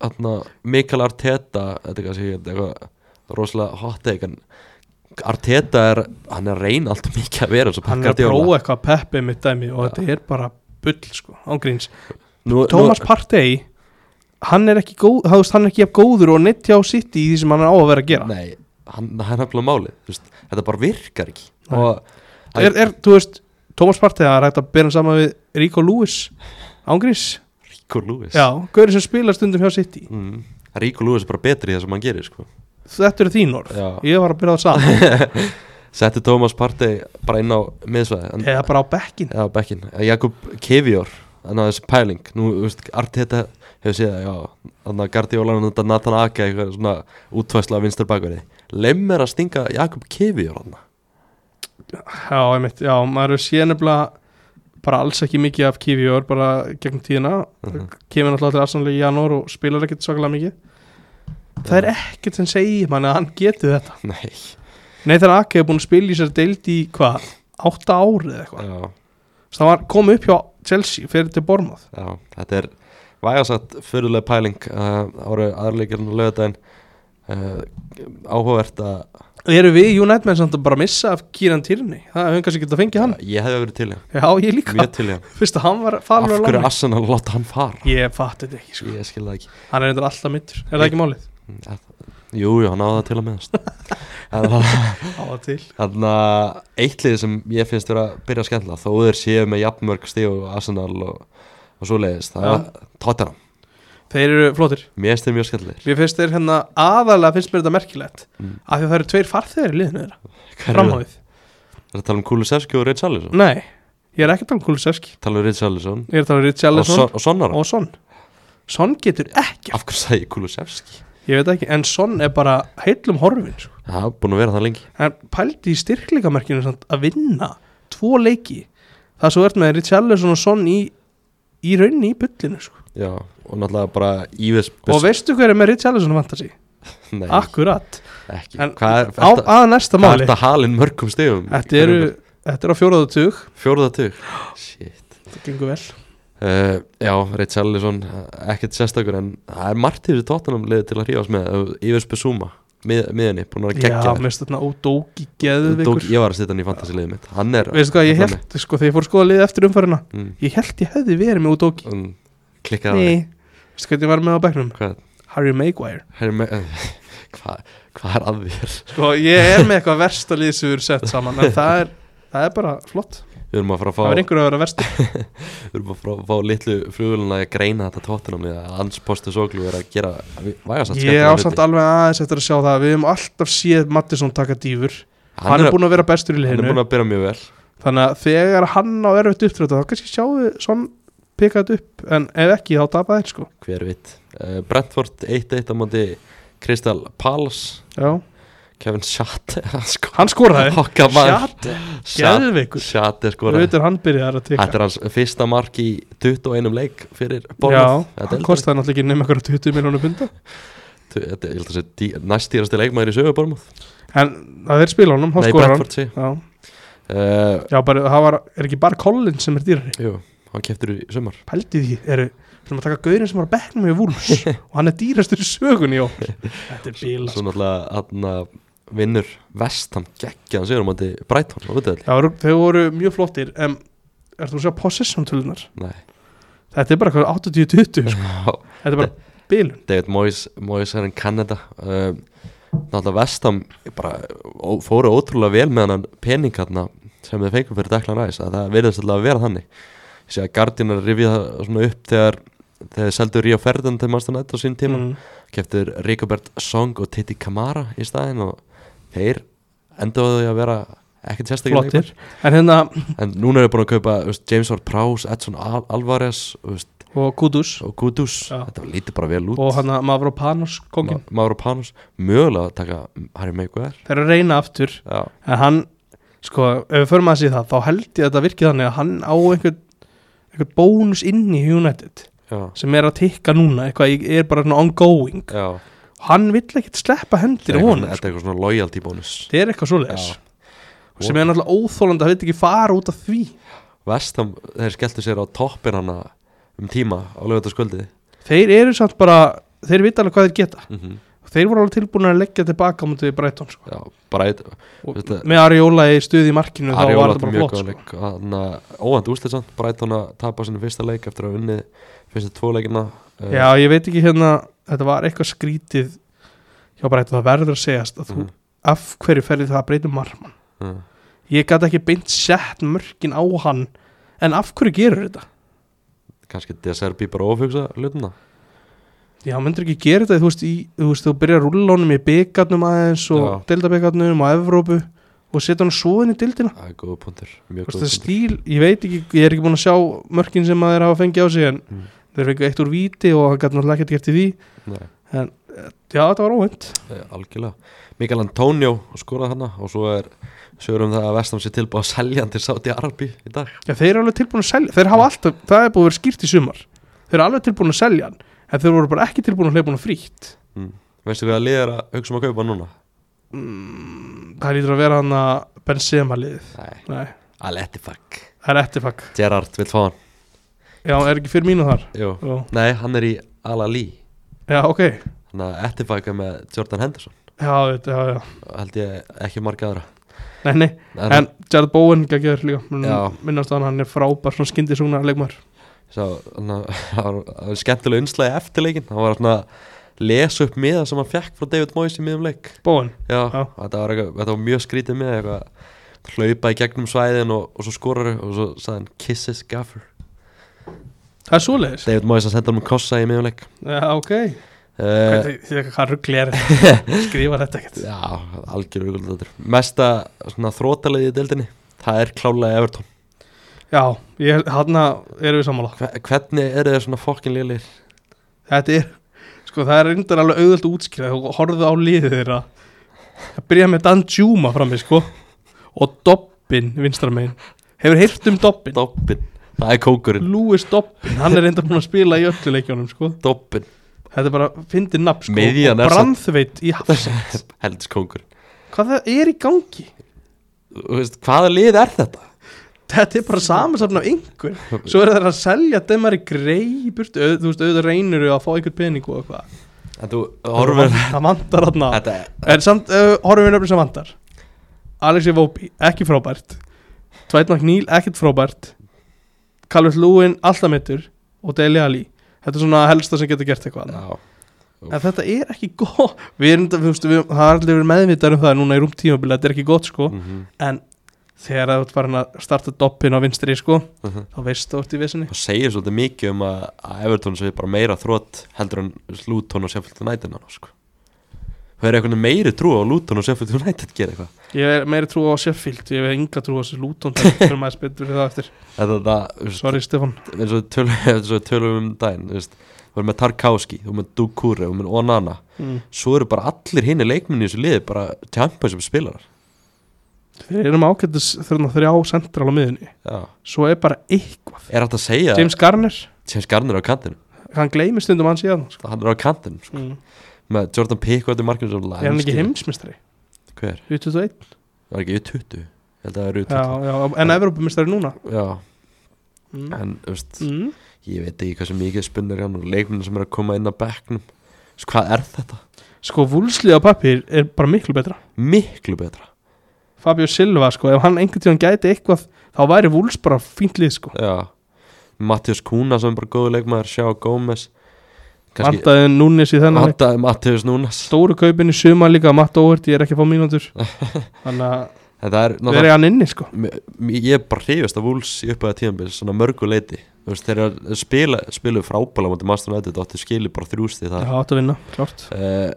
Speaker 3: atna, Mikael Arteta þetta er kannski eitthvað rosalega hot take en Arteta er, hann er að reyna alltaf mikið að vera eins og
Speaker 4: hann er
Speaker 3: Pep
Speaker 4: að
Speaker 3: Guardiola.
Speaker 4: prófa eitthvað peppi mitt dæmi og þetta er bara bull sko, ángríns
Speaker 3: nú,
Speaker 4: Thomas Partey hann er ekki góð, þú veist, hann er ekki jafn góður og neitt hjá sitt í því sem hann er á að vera að
Speaker 3: nú,
Speaker 4: gera
Speaker 3: nei, hann, hann er nefnilega máli veist, þetta bara virkar ekki
Speaker 4: Nei.
Speaker 3: og
Speaker 4: er, er, þú veist, Thomas Partey það er hægt að bera hann saman við Rico Lewis ángríns,
Speaker 3: Ríko Lúis
Speaker 4: já, gauri sem spilar stundum hjá sitt í
Speaker 3: mm, Ríko Lúis er bara betri í það sem hann gerir sko.
Speaker 4: þetta eru þín orð,
Speaker 3: Já.
Speaker 4: ég var að byrja það saman
Speaker 3: setti Thomas Partey bara inn á miðsvæði en-
Speaker 4: eða bara á bekkin
Speaker 3: Já, bekkin, Jakob Kevjór þannig að þessi pæling, nú, þú veist, Arteta hefur séð það, já, þannig að Gardiolan þetta Nathan Ake, eitthvað svona útvæsla af vinstur bakverði, lemm er að stinga Jakob Kevjór hann
Speaker 4: Já, einmitt, já, maður er séð nefnilega bara alls ekki mikið af Kivior bara gegnum tíðina
Speaker 3: Mhm.
Speaker 4: kemur náttúrulega til Arsenal í janúar og spilar ekkert svakalega mikið það er ekkert sem segir mann að hann geti þetta
Speaker 3: Nei,
Speaker 4: Nei, þannig að Aki hefur búin að spila í sér deild í hvað, átta árið eða eitthvað
Speaker 3: já,
Speaker 4: Þess að hann var- kom upp hjá Chelsea fyrir til Bormað
Speaker 3: já, þetta er vægasatt fyrirlega pæling uh, ára aðrleikirinn og lögudaginn uh, áhugavert að
Speaker 4: Eru við United menn samt að bara missa af Kieran Tierney, það hefur kannski getað fengið hann
Speaker 3: ég hefði verið til hann,
Speaker 4: Já, ég líka,
Speaker 3: mjög til hann
Speaker 4: fyrst að hann var
Speaker 3: af
Speaker 4: falur
Speaker 3: hverju Arsenal láta hann fara
Speaker 4: Ég fatti þetta ekki, sko.
Speaker 3: ég skil það ekki
Speaker 4: hann er reyndar alltaf mittur, er það ekki málið?
Speaker 3: Jú, jú, hann áða til að meðast en hann
Speaker 4: Á það til
Speaker 3: Þannig að eitt lið sem ég finnst vera að byrja að skemmla þó þeir séu með jafnmörg stíg og Arsenal og, og svo leiðist það
Speaker 4: Já.
Speaker 3: er Tottenham,
Speaker 4: Þeir eru flottir
Speaker 3: mér finnst þeir mjög skemmtilegir
Speaker 4: Mér finnst þeir hérna aðalega finnst mér þetta merkilegt
Speaker 3: Mm.
Speaker 4: af því að það eru tveir farþegar í liðinu þeirra
Speaker 3: Hver eru það?
Speaker 4: framháðið,
Speaker 3: Það er að tala um Kulusevski og Richarlison
Speaker 4: nei ég er ekki að tala um Kulusevski,
Speaker 3: tala um Richarlison
Speaker 4: ég er að tala um
Speaker 3: og,
Speaker 4: Richarlison
Speaker 3: son, og Sonnara,
Speaker 4: og Son Son getur ekki,
Speaker 3: af hverju sagði ég Kulusevski
Speaker 4: ég veit ekki en Son er bara heillum horfin sko.
Speaker 3: það er búin að vera það lengi
Speaker 4: en pældi í styrkleikamerkinu samt að vinna tvo leiki það svo ert með Richarlison og Son í, í rauninni í byllinu sko.
Speaker 3: Já, og náttúrulega bara Íves
Speaker 4: og veistu hver er með Richarlison fantasi?
Speaker 3: Nei,
Speaker 4: Akkurat
Speaker 3: ekki
Speaker 4: en
Speaker 3: Hvað er
Speaker 4: á,
Speaker 3: þetta?
Speaker 4: að
Speaker 3: Hvað
Speaker 4: næsta
Speaker 3: er
Speaker 4: máli
Speaker 3: þetta halinn mörgum stígum?
Speaker 4: þetta eru þetta er á fjóraðutug
Speaker 3: Fjórðatug Shit
Speaker 4: þetta gengur vel
Speaker 3: Uh, já, Richarlison ekkert sérstakur en það er margt í þessu tóttunum liði til að hrífast með uh, Yves Besuma, mið, miðinni, búin að vera
Speaker 4: Já,
Speaker 3: geggja
Speaker 4: mér finnst þarna ódóki geðveikur
Speaker 3: ég var að setja hann í fantasy liðið mitt hann er
Speaker 4: Veistu hvað, ég
Speaker 3: hann er-
Speaker 4: held, sko, þegar ég fór að skoða liðið eftir umfærina
Speaker 3: Mm.
Speaker 4: Ég held ég hefði verið með ódóki
Speaker 3: um, klikkað á því
Speaker 4: Nei, Veistu hvernig ég var með á bekknum?
Speaker 3: Hvað?
Speaker 4: Harry Maguire
Speaker 3: Herri, me- Hvað hva er að þér?
Speaker 4: Sko, ég er með eitthvað versta lið sem við erum sett saman En það er, það er bara flott
Speaker 3: Við erum að fara að
Speaker 4: Það er
Speaker 3: fá,
Speaker 4: einhverju að vera versti
Speaker 3: við erum að fara að fá litlu frugulina að greina þetta tóttunum eða að Hans Postu Soglu er að gera vægasamt
Speaker 4: Ég ásamt alveg aðeins eftir að sjá það Við hefum alltaf séð Mattisson taka dýfur Hann, er búin að vera bestur í
Speaker 3: Hann er
Speaker 4: liðinu
Speaker 3: búin að byrja mjög vel
Speaker 4: Þannig að þegar hann á erfitt upptröta Þá kannski sjáðu svona pikað upp En ef ekki þá tapa þeir sko
Speaker 3: hver veit uh, Brentford 1-1 á móti Crystal Palace
Speaker 4: Já.
Speaker 3: Kevin Shatt sko,
Speaker 4: Hann skoraði
Speaker 3: okkar maður
Speaker 4: Sjátt, eh? geðveikur
Speaker 3: Shatt er sko
Speaker 4: auðvitað hann byrjaði að
Speaker 3: þetta
Speaker 4: tikka
Speaker 3: er hans fyrsta mark í 21 leik fyrir
Speaker 4: Já,
Speaker 3: Bournemouth. Þetta er
Speaker 4: hann
Speaker 3: eldri.
Speaker 4: kostaði náttúrulega ekki nema eitthvað 20 miljónu punda
Speaker 3: Tu- þetta er ég held að sé næstýrasti leikmaður í sögu Bormúð
Speaker 4: En það er spila honum, hann
Speaker 3: nei
Speaker 4: skorar hann
Speaker 3: Brentford sí
Speaker 4: Já,
Speaker 3: uh,
Speaker 4: já bara, það var, er ekki bara Collins sem er dýrari
Speaker 3: jú hann keftur í sumar
Speaker 4: Pældi því, eru við erum að taka gaurinn sem var að bekna með vúls og hann er dýrastur í sögunni í ár. Þetta er bíla
Speaker 3: svo náttúrulega hann vinnur vestam geggjaðan sigur á móti Brighton á útöðli
Speaker 4: Já, eru- þau voru mjög flottir en er þú að sjá possession tölunar
Speaker 3: nei
Speaker 4: þetta er bara eitthvað 80-20 sko.
Speaker 3: Já.
Speaker 4: þetta er bara bílun
Speaker 3: David Moyes, Moyes er enn Kanada um, náttúrulega Vestam bara ó, fóru ótrúlega vel með hann pening hérna sem þið fengum fyrir Declan Rice að það verðist alltaf að vera þannig ég sé að Guardian er að rifja það svona upp þegar þegar þið seldu Ríó Ferdan til Master Night á sín tíma mm.
Speaker 4: mm.
Speaker 3: keftir Rikobert Song og Titi Kamara í staðinn og þeir endaðu á því að vera ekkert sérstakir
Speaker 4: flottir en hérna,
Speaker 3: leikmenn. en núna erum við búin að kaupa þú veist, James Ward Prowse, Edson Al Alvarez þú veist,
Speaker 4: og Kudus
Speaker 3: og Gudus
Speaker 4: Já.
Speaker 3: þetta lítur bara vel út
Speaker 4: og hann að Mavropanos kongin,
Speaker 3: Ma- Mauro Panos mögulega að taka Harry Maguire
Speaker 4: þeir eru að reyna aftur
Speaker 3: já,
Speaker 4: en hann, sko, ef við förum að sé það þá held ég að þetta virki þannig að hann á einhvern, einhvern bónus inn í United
Speaker 3: já,
Speaker 4: sem er að tikka núna eitthvað, ég er bara svona ongoing
Speaker 3: já
Speaker 4: hann vill ekkert sleppa hendir
Speaker 3: Þetta er
Speaker 4: á
Speaker 3: eitthvað-
Speaker 4: honum,
Speaker 3: þetta
Speaker 4: sko.
Speaker 3: er eitthvað svona loyalty bónus
Speaker 4: þetta er eitthvað svoleiðis
Speaker 3: Já.
Speaker 4: sem er náttúrulega óþólandi að þetta ekki fara út af því
Speaker 3: Vestam, þeir skelltu sér á toppin hana um tíma á lögutaskvöldi
Speaker 4: þeir eru samt bara, þeir vita alveg hvað þeir geta
Speaker 3: mm -hmm.
Speaker 4: þeir voru alveg tilbúin að leggja tilbaka á mútið í Breitón, sko
Speaker 3: já, bara eitt
Speaker 4: Og
Speaker 3: Þetta-
Speaker 4: með Ariola í stuði í markinu þá var
Speaker 3: Arjóla
Speaker 4: þetta bara
Speaker 3: mjög
Speaker 4: flott,
Speaker 3: góðan
Speaker 4: sko
Speaker 3: leik Þarna, óvænt úsliðsamt, Brighton að tapa sinu fyrsta leik eftir að unni fyrstu tvo leikina Eh,
Speaker 4: Já, ég veit ekki hérna, þetta var eitthvað skrítið Já, bara þetta verður að segjast að þú,
Speaker 3: Mhm.
Speaker 4: af hverju ferði það að breyta um marmann
Speaker 3: mm.
Speaker 4: Ég gat ekki beint sett mörkin á hann En af hverju gerur þetta?
Speaker 3: kannski DSRB bara ofugsa hlutina
Speaker 4: Já, myndir ekki gera þetta, þú veist, í, þú veist, þú byrjar að rúlla honum í byggarnum aðeins og
Speaker 3: Já.
Speaker 4: deildabikarnum og Evrópu og setja hann svo inn í deildina
Speaker 3: það er góða punktur, mjög góða
Speaker 4: Þú veist, það
Speaker 3: punktur
Speaker 4: stíl, ég veit ekki, ég er ekki búin að sjá mörkin sem að þeir hafa fengið á sig en
Speaker 3: Mm.
Speaker 4: þeir fengið eitt úr víti og hann gæti náttúrulega ekkert gert í því
Speaker 3: Nei.
Speaker 4: Já, þetta var óvænt
Speaker 3: Eh, algjörlega, Mikael Antonio skoraði hana og svo er sögur um það að Vestam sé tilbúið að selja hann til Saudi Arabi í dag
Speaker 4: Já, þeir eru alveg tilbúin að selja Þeir hafa alltaf, það er búið að vera skýrt í sumar Þeir eru alveg tilbúin að selja hann En þeir voru bara ekki tilbúin að hleypa hann frítt
Speaker 3: veistu hvað lið er að hugsa um að kaupa núna?
Speaker 4: Mm, Það lítur að vera hann að Benzema liðið
Speaker 3: Nei,
Speaker 4: Nei,
Speaker 3: Aletti fuck
Speaker 4: það er ettifak
Speaker 3: Gerard vil fá hann
Speaker 4: Já, er ekki fyrir mínu þar
Speaker 3: Jú.
Speaker 4: Jú.
Speaker 3: Nei, hann er í Al-Ali
Speaker 4: Já, ok Já,
Speaker 3: þannig að Aletti fuck er með Jordan Henderson
Speaker 4: þetta, já, já
Speaker 3: held ég ekki marga aðra
Speaker 4: Nei, nei,
Speaker 3: en,
Speaker 4: en Jared Bowen geggjör líka Mun-
Speaker 3: Já.
Speaker 4: Minnast að hann, hann er frábær Svona skyndi svona leikmar
Speaker 3: sá, hann, hann var- það var skemmtilega unnslagi eftir leikin hann var svona að lesa upp miða sem hann fekk frá David Moyes í miðum leik
Speaker 4: Bowen,
Speaker 3: Já,
Speaker 4: Já.
Speaker 3: Þetta, var eitthvað, þetta var mjög skrítið með eitthvað hlaupa í gegnum svæðin og, og svo skorar og svo sagði hann kisses gaffer
Speaker 4: það er svoleiðis
Speaker 3: David Moyes að senda hann um kossa í miðjumleik
Speaker 4: Já, ok
Speaker 3: Eh. uh,
Speaker 4: Hvernig- Þið eitthvað ruggli er Skrifa þetta ekkert
Speaker 3: Já, algjör auðvitað Mesta svona þrótaleið í deildinni það er klálega Everton
Speaker 4: Já, ég, hann erum við sammála
Speaker 3: Hve- Hvernig eru þeir svona fokkin liðlir?
Speaker 4: Þetta er, sko það er reyndar alveg auðvöld útskýra Þú horfðu á liðið þeirra Það byrja með Dan Juma frammi, sko Og Dobbin, vinstramegin Hefur heyrt um Dobbin?
Speaker 3: Dobbin Það er kókurinn
Speaker 4: Lewis Dobbin, hann er reyndar búin að spila í öllu leikjónum, sko
Speaker 3: Dobbin
Speaker 4: Þetta er bara, fyndi nafn, sko
Speaker 3: Miðjan er
Speaker 4: Og
Speaker 3: samt-
Speaker 4: brandþveit í hafsend
Speaker 3: Heldis kókurinn
Speaker 4: Hvað það er í gangi?
Speaker 3: Þú veist, Hvaða lið er þetta?
Speaker 4: Þetta er bara samansafn af einhver Svo er það að selja demari grei í burtu, auð- Þú veist, auðvitað reynir að fá einhvern pening og eitthvað
Speaker 3: En þú horfir
Speaker 4: Það vantar hann að
Speaker 3: Þetta
Speaker 4: En samt uh, horfum við nöfnum sem vantar Alexi Vópi, ekki frábært Tvætnak Níl, ekkert frábært Calvert Lúin, alltaf mittur Og Deli Ali þetta er svona helsta sem getur gert eitthvað annað.
Speaker 3: Já,
Speaker 4: en þetta er ekki gott við erum, við, við, við, það er allir verið meðvitað um það núna í rúm tímabili, þetta er ekki gott sko
Speaker 3: mhm.
Speaker 4: en þegar þú ert farin að starta doppin á vinstri sko,
Speaker 3: Mhm.
Speaker 4: þá veist þú ert í vissinni
Speaker 3: það segir svolítið mikið um að að Everton sé bara meira þrótt heldur en Luton og Sheffield United núna, sko. Það er eitthvað meiri trú á að Luton og Sheffield United gera eitthvað
Speaker 4: ég er meiri trú á Sheffield, ég hef enga trú á þessi Luton fyrir maður spytur fyrir það eftir
Speaker 3: Þetta, það, þú veist,
Speaker 4: sorry Stefan,
Speaker 3: eins og við tölum, eins og við tölum um daginn þú veist, við erum með Tarkowski, við erum með Dukure við erum með Onana,
Speaker 4: mm.
Speaker 3: svo eru bara allir hinni leikminni í þessu liði, bara Champions sem spilarar
Speaker 4: þeir eru með ákvæmdis þurfna þrjá central á miðunni
Speaker 3: Já.
Speaker 4: svo er bara eitthvað
Speaker 3: er hægt að segja James,
Speaker 4: James Garner,
Speaker 3: Garner er á kantinu
Speaker 4: hann gleymir stundum hans í aðan sko.
Speaker 3: hann er á kantinu, sko.
Speaker 4: mm.
Speaker 3: með Jordan Pickford í markinu sem
Speaker 4: er hann ekki
Speaker 3: landsliðið.
Speaker 4: heimsmyndstari
Speaker 3: hver,
Speaker 4: U21,
Speaker 3: það er ekki U20 ég held að það er
Speaker 4: já,
Speaker 3: U20
Speaker 4: já, en Evrópumyndstari núna
Speaker 3: já,
Speaker 4: mm.
Speaker 3: en þú veist,
Speaker 4: Mm.
Speaker 3: ég veit ekki hvað sem mikið spunnir hann og leikminni sem er að koma inn á bekknum Þú veist, hvað er þetta?
Speaker 4: sko vúlslið á pappir er bara miklu betra
Speaker 3: miklu betra
Speaker 4: Fabio Silva sko, ef hann einhvern tíðan gæti eitthvað þá væri vúls bara fínt lið sko
Speaker 3: Já Mattias Kuna sem er bara góðu leikmaður Sjá Gómez Kannski
Speaker 4: vandaði núnis í þennan leik.
Speaker 3: Vandaði Mattias Núnas
Speaker 4: stóru kaupin í suma líka Matt Óvert, ég er ekki að fá mínútur þannig að
Speaker 3: Þetta er
Speaker 4: verið
Speaker 3: náttúrulega
Speaker 4: hann inni sko
Speaker 3: m- m- Ég er bara hrifist af Wolves í upphæða tíðanbils Svona mörgu leiti Þú veist þeir eru að spila Spilu frábæla Mátti Master United Ótti skili bara þrjústi
Speaker 4: það
Speaker 3: það
Speaker 4: átt að vinna, klart
Speaker 3: uh,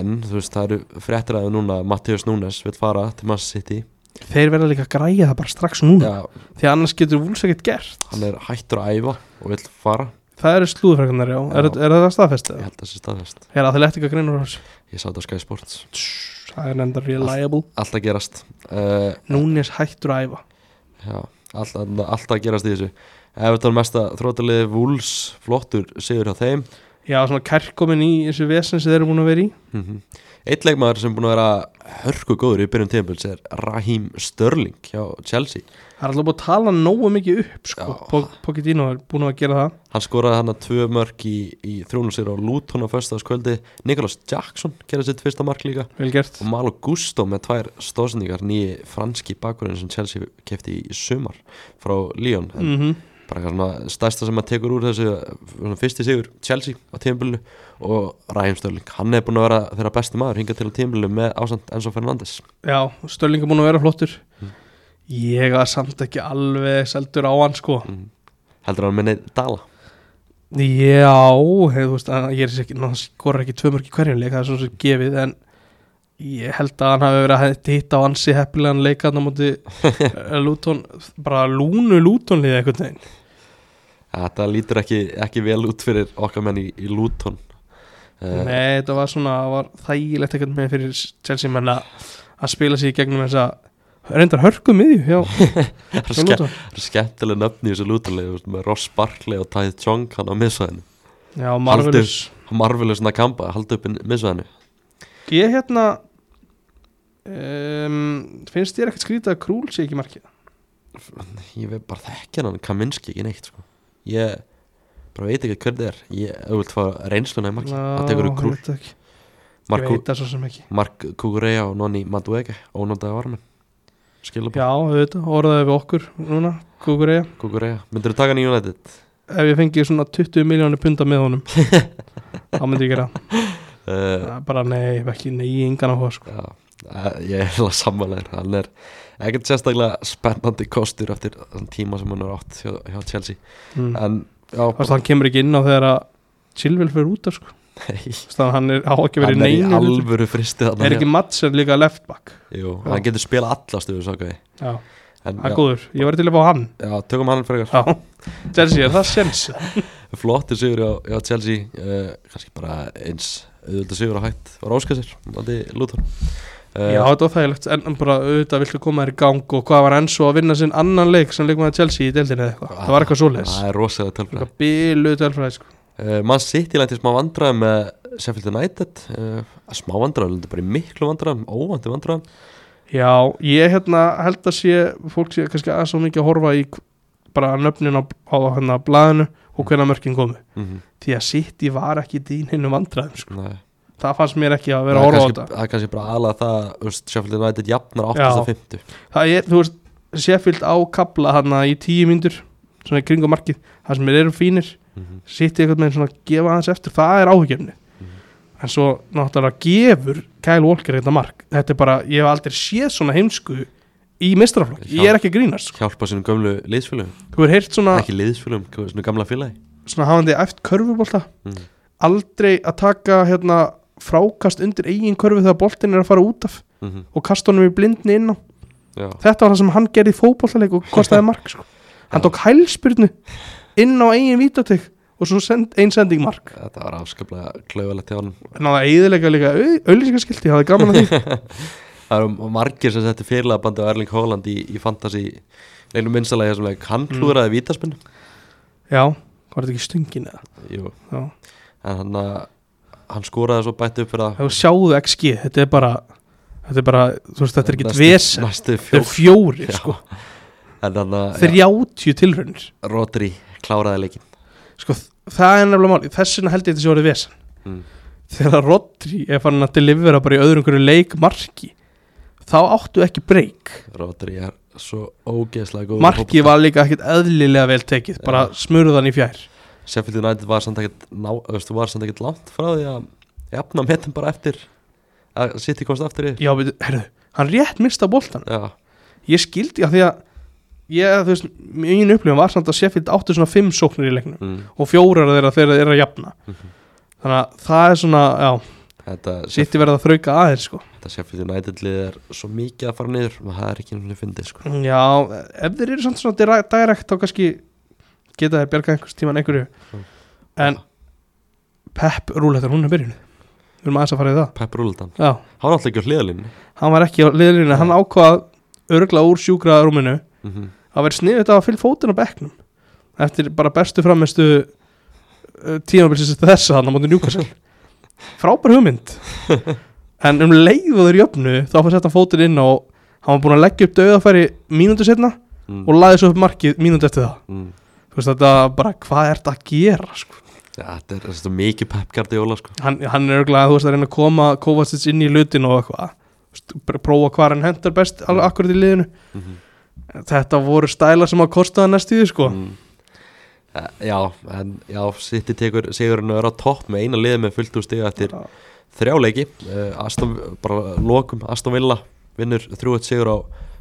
Speaker 3: En þú veist það eru fréttir að núna Mattias Núnas vill fara til Man City
Speaker 4: þeir verða líka að græja það bara strax núna
Speaker 3: Já
Speaker 4: því annars getur vúls ekkert gert
Speaker 3: Hann er hættur að æfa Og vill fara
Speaker 4: það eru slúðfræknar já,
Speaker 3: Já.
Speaker 4: er, er það staðfestið?
Speaker 3: Ég held að það sé staðfest
Speaker 4: það er að þeir lett ekki að greina úr þessu
Speaker 3: Ég sá þetta á Sky Sports
Speaker 4: það er nefndar reliable,
Speaker 3: Allt að gerast uh,
Speaker 4: núnis hættur að æfa
Speaker 3: Já, alltaf, alltaf að gerast í þessu Everton mesta þrótaliði Wolves flottur sigur hjá þeim
Speaker 4: já, svona kærkomin í þessu vesen sem þeir eru búin að vera í
Speaker 3: Eitt leikmaður sem er búin að vera hörku góður í byrjum tímpils er Raheem Sterling hjá Chelsea
Speaker 4: Það er alltaf búið að tala nógu mikið upp sko.
Speaker 3: Já.
Speaker 4: Po- Pochettino er búin að gera það
Speaker 3: Hann skoraði hann að tvö mörk í, í þrjónum sér á Luton á föstaðskvöldi Nicholas Jackson gerði sitt fyrsta mark líka
Speaker 4: Vel gert
Speaker 3: og Malo Gusto með tvær stóðsendingar nýji franski bakurinn sem Chelsea kefti í sumar frá Lyon en
Speaker 4: mm
Speaker 3: bara eitthvað svona stærsta sem maður tekur úr þessu svona fyrsti sigur Chelsea á tímabilinu og Ryan Störling hann er búin að vera þeirra besti maður hingað til á tímabilinu með ásand Enzo Fernandes
Speaker 4: Já, Stölling er búin að vera flottur Ég er samt ekki alveg seldur á hann sko
Speaker 3: heldur hann með neitt dala
Speaker 4: Já, hef, þú veist hann- ég er sér ekki, hann skorar ekki tvö mörg í hverjum leik það er svona sem gefið en ég held að hann hafi verið að hitta á ansi heppilegan leika þannig á móti eh, Luton, bara lúnu Luton liðið einhvern veginn
Speaker 3: þetta lítur ekki, ekki vel út fyrir okkar menn í, í Luton uh,
Speaker 4: Nei, þetta var svona það var þægilegt ekkert með fyrir Chelsea menn að að spila sig í gegnum þess að reyndar hörku miðju já, hjá
Speaker 3: ske,
Speaker 4: Luton.
Speaker 3: skemmtileg nöfni í þessu Lutonlegu með Ross Barkley og Tæð Chong hann á miðsvæðinu
Speaker 4: já Marvelous
Speaker 3: marvileg svona kampa, haldi upp miðsvæðinu
Speaker 4: ég hérna um, finnst þér ekkert skrítið að Krúl sé ekki í markið
Speaker 3: ég veit bara þekkja hann Kaminski ekki neitt sko. ég bara veit ekki hver það er ég þú vilt fá reynsluna í marki það tekur upp krúl
Speaker 4: ég veit ekki. Ég
Speaker 3: Mark,
Speaker 4: veit það svo sem ekki
Speaker 3: Mark Kukureya og Nonni Madueke ónöndaði varmen skilabá
Speaker 4: já, auðvitað, orðaði við okkur núna Kukureya,
Speaker 3: Kukureya myndir þú taka hann í United
Speaker 4: ef ég fengi svona 20 miljónir punda með honum þá myndi ég gera það.
Speaker 3: uh,
Speaker 4: Það er bara nei, ekki nei, engan áhuga sko.
Speaker 3: já, eh, ég er heila sammálaður hann er ekkert sérstaklega spennandi kostur eftir þann tíma sem hann er átt hjá, hjá Chelsea
Speaker 4: mm.
Speaker 3: en já,
Speaker 4: Fast hann kemur ekki inn á þegar að Silvel fyrir út af sko
Speaker 3: nei,
Speaker 4: Þannig að hann er, á ekki verið
Speaker 3: hann er í
Speaker 4: neinu hluti.
Speaker 3: alvöru fristið þarna
Speaker 4: Er ekki
Speaker 3: hjá-
Speaker 4: Madsen líka left back
Speaker 3: Jú, hann getur spila allastu en
Speaker 4: Já, hann er
Speaker 3: já,
Speaker 4: góður, ég var til að fá hann
Speaker 3: já, tökum hann frekar
Speaker 4: Já, Chelsea, er það sens?
Speaker 3: flottir sigur hjá, hjá Chelsea uh, kannski bara eins auðvitað sigur á hægt var áskasir valdi Luton
Speaker 4: Já,
Speaker 3: uh,
Speaker 4: þetta var þægilegt En en bara auðvitað viltu koma þér í gang Og hvað var Enzo að vinna sinn annan leik sem leikum að Chelsea í deildinni eða eitthvað Það var eitthvað svoleiðis
Speaker 3: það er rosalega tölfræð
Speaker 4: Eitthvað biluð tölfræði sko
Speaker 3: uh, mann sitt í lænti smá vandræðum með Sheffield United uh, smá vandræðum, heldur bara í miklu vandræðum óvandi vandræðum
Speaker 4: Já, ég hérna held að sé Fólk sé kannski aðeins svo mikið að horfa í Bara nöfnin á, á hérna blaðinu Og hvernig mörkin komu
Speaker 3: mm
Speaker 4: Því að City var ekki dín hinn vandræðum sko.
Speaker 3: -hmm.
Speaker 4: Það fannst mér ekki að vera
Speaker 3: það
Speaker 4: að
Speaker 3: er
Speaker 4: horfa á
Speaker 3: kannski,
Speaker 4: þetta
Speaker 3: það er kannski bara aðlega það þú veist, Sheffield United jafnar
Speaker 4: Já.
Speaker 3: 8.50
Speaker 4: það er, þú veist, Sheffield á kapla hana í tíu myndur svona í kringum markið, það sem þeir eru fínir
Speaker 3: Mhm.
Speaker 4: sitt einhvern veginn svona að gefa aðeins eftir það er áhugjefni en svo náttúrulega gefur Kyle Walker þetta mark þetta er bara, ég hef aldrei séð svona heimsku í mistraflokk, ég er ekki að grínast sko.
Speaker 3: Hjálpa sínum gömlu liðsfélögum
Speaker 4: þú er heyrt svona,
Speaker 3: Ekki liðsfélögum, svona gamla félagi
Speaker 4: svona hafandi eft körfubólta
Speaker 3: Mhm.
Speaker 4: aldrei að taka hérna, frákast undir eigin körfu þegar boltin er að fara út af
Speaker 3: Mhm.
Speaker 4: og kasta honum í blindni inn á
Speaker 3: Já,
Speaker 4: þetta var það sem hann gerði í fótbollaleik og kostaði mark sko. hann tók hælspyrnu inn á eigin vítatig og svo send, ein sending mark
Speaker 3: þetta var afskaplega klauvalegt hjá hann
Speaker 4: en á það eiðilega líka auðlýsingaskilti, það er gaman að því
Speaker 3: Það eru margir sem setti fyrirlagabandi á Erling Haaland í, í fantasy einu minnstalega sem leik hann
Speaker 4: Mm.
Speaker 3: klúraði vítaspinn
Speaker 4: já, var þetta ekki stöngin eða
Speaker 3: Jú,
Speaker 4: já.
Speaker 3: en hann að hann skoraði svo bætti upp fyrir það
Speaker 4: þú sjáðu XG, þetta er bara þetta er bara, þú veist, þetta er ekkit
Speaker 3: Næstu-
Speaker 4: vesen
Speaker 3: Næstu
Speaker 4: þetta er
Speaker 3: fjór
Speaker 4: fjóri,
Speaker 3: Já.
Speaker 4: sko
Speaker 3: En hann að já,
Speaker 4: 30 tilraunir
Speaker 3: Rodri kláraði leikin
Speaker 4: sko, þ- það er nefnilega máli, þess vegna held ég þetta sé orðið vesen
Speaker 3: Mm.
Speaker 4: þegar Rodri er fann að delivera bara í öðru einhverju leikmarki þá áttu ekki break
Speaker 3: Rodri er svo ógeðslega góð
Speaker 4: markið var líka ekkert eðlilega vel tekið bara smurðan í fjær
Speaker 3: Sheffield United var samt ekkert ná, þú veist, var samt ekkert langt frá því að jafna metin bara eftir að City komst aftur í
Speaker 4: já, veitu, herru, hann rétt mista boltan
Speaker 3: Já,
Speaker 4: ég skildi að því að ég, þú veist, mín upplifun var samt að Sheffield áttu svona fimm sóknir í leiknum
Speaker 3: mm,
Speaker 4: og fjórar þeirra þeirra er að jafna þannig að það er svona, já,
Speaker 3: þetta, Sheffield,
Speaker 4: sitti verið að þrauka aðeins sko.
Speaker 3: þetta Sheffield United lið er svo mikið að fara niður og það er ekki einhvern veginn fyndið sko.
Speaker 4: já, ef þeir eru samt svona dira- direkt þá kannski geta þeir bjarga einhvers tíman einhverju en Pep rúletar hún er byrjun við erum aðeins að fara í það
Speaker 3: Pep Rúldan,
Speaker 4: já
Speaker 3: hann átti ekki á hliðalínu
Speaker 4: hann var ekki á liðlínu, hann ákvað örgla úr sjúkraðarúminu
Speaker 3: mm -hmm.
Speaker 4: að vera sniðið þetta að fylg fótinn á bekknum eftir bara bestu framistu tímabilsins þess að hann á móti njúkasel frábær hugmynd en um leiðu þeir jöfnu þá fyrir setja fótinn inn og hann var búin að leggja upp döðafæri mínútu setna
Speaker 3: mm,
Speaker 4: og laði svo upp markið mínútu eftir það
Speaker 3: mm.
Speaker 4: þú veist þetta bara hvað er þetta að gera sko?
Speaker 3: Já, þetta er þetta er mikið Pep Guardiola sko.
Speaker 4: hann, hann er örglega þú veist að reyna að koma Kovacic inn í lutin og eitthvað Þú veist, bara prófa hvað hann hendar best alveg
Speaker 3: Mm.
Speaker 4: akkurat í liðinu
Speaker 3: Mhm.
Speaker 4: þetta voru stælar sem að kostaða næstu því sko
Speaker 3: mm. Eh, Já, en já, City tekur sigurinn og er á topp með eina liði með fullt úr stiga eftir
Speaker 4: Já.
Speaker 3: þrjáleiki uh, Aston, bara lokum Aston Villa vinnur 3-1 sigur á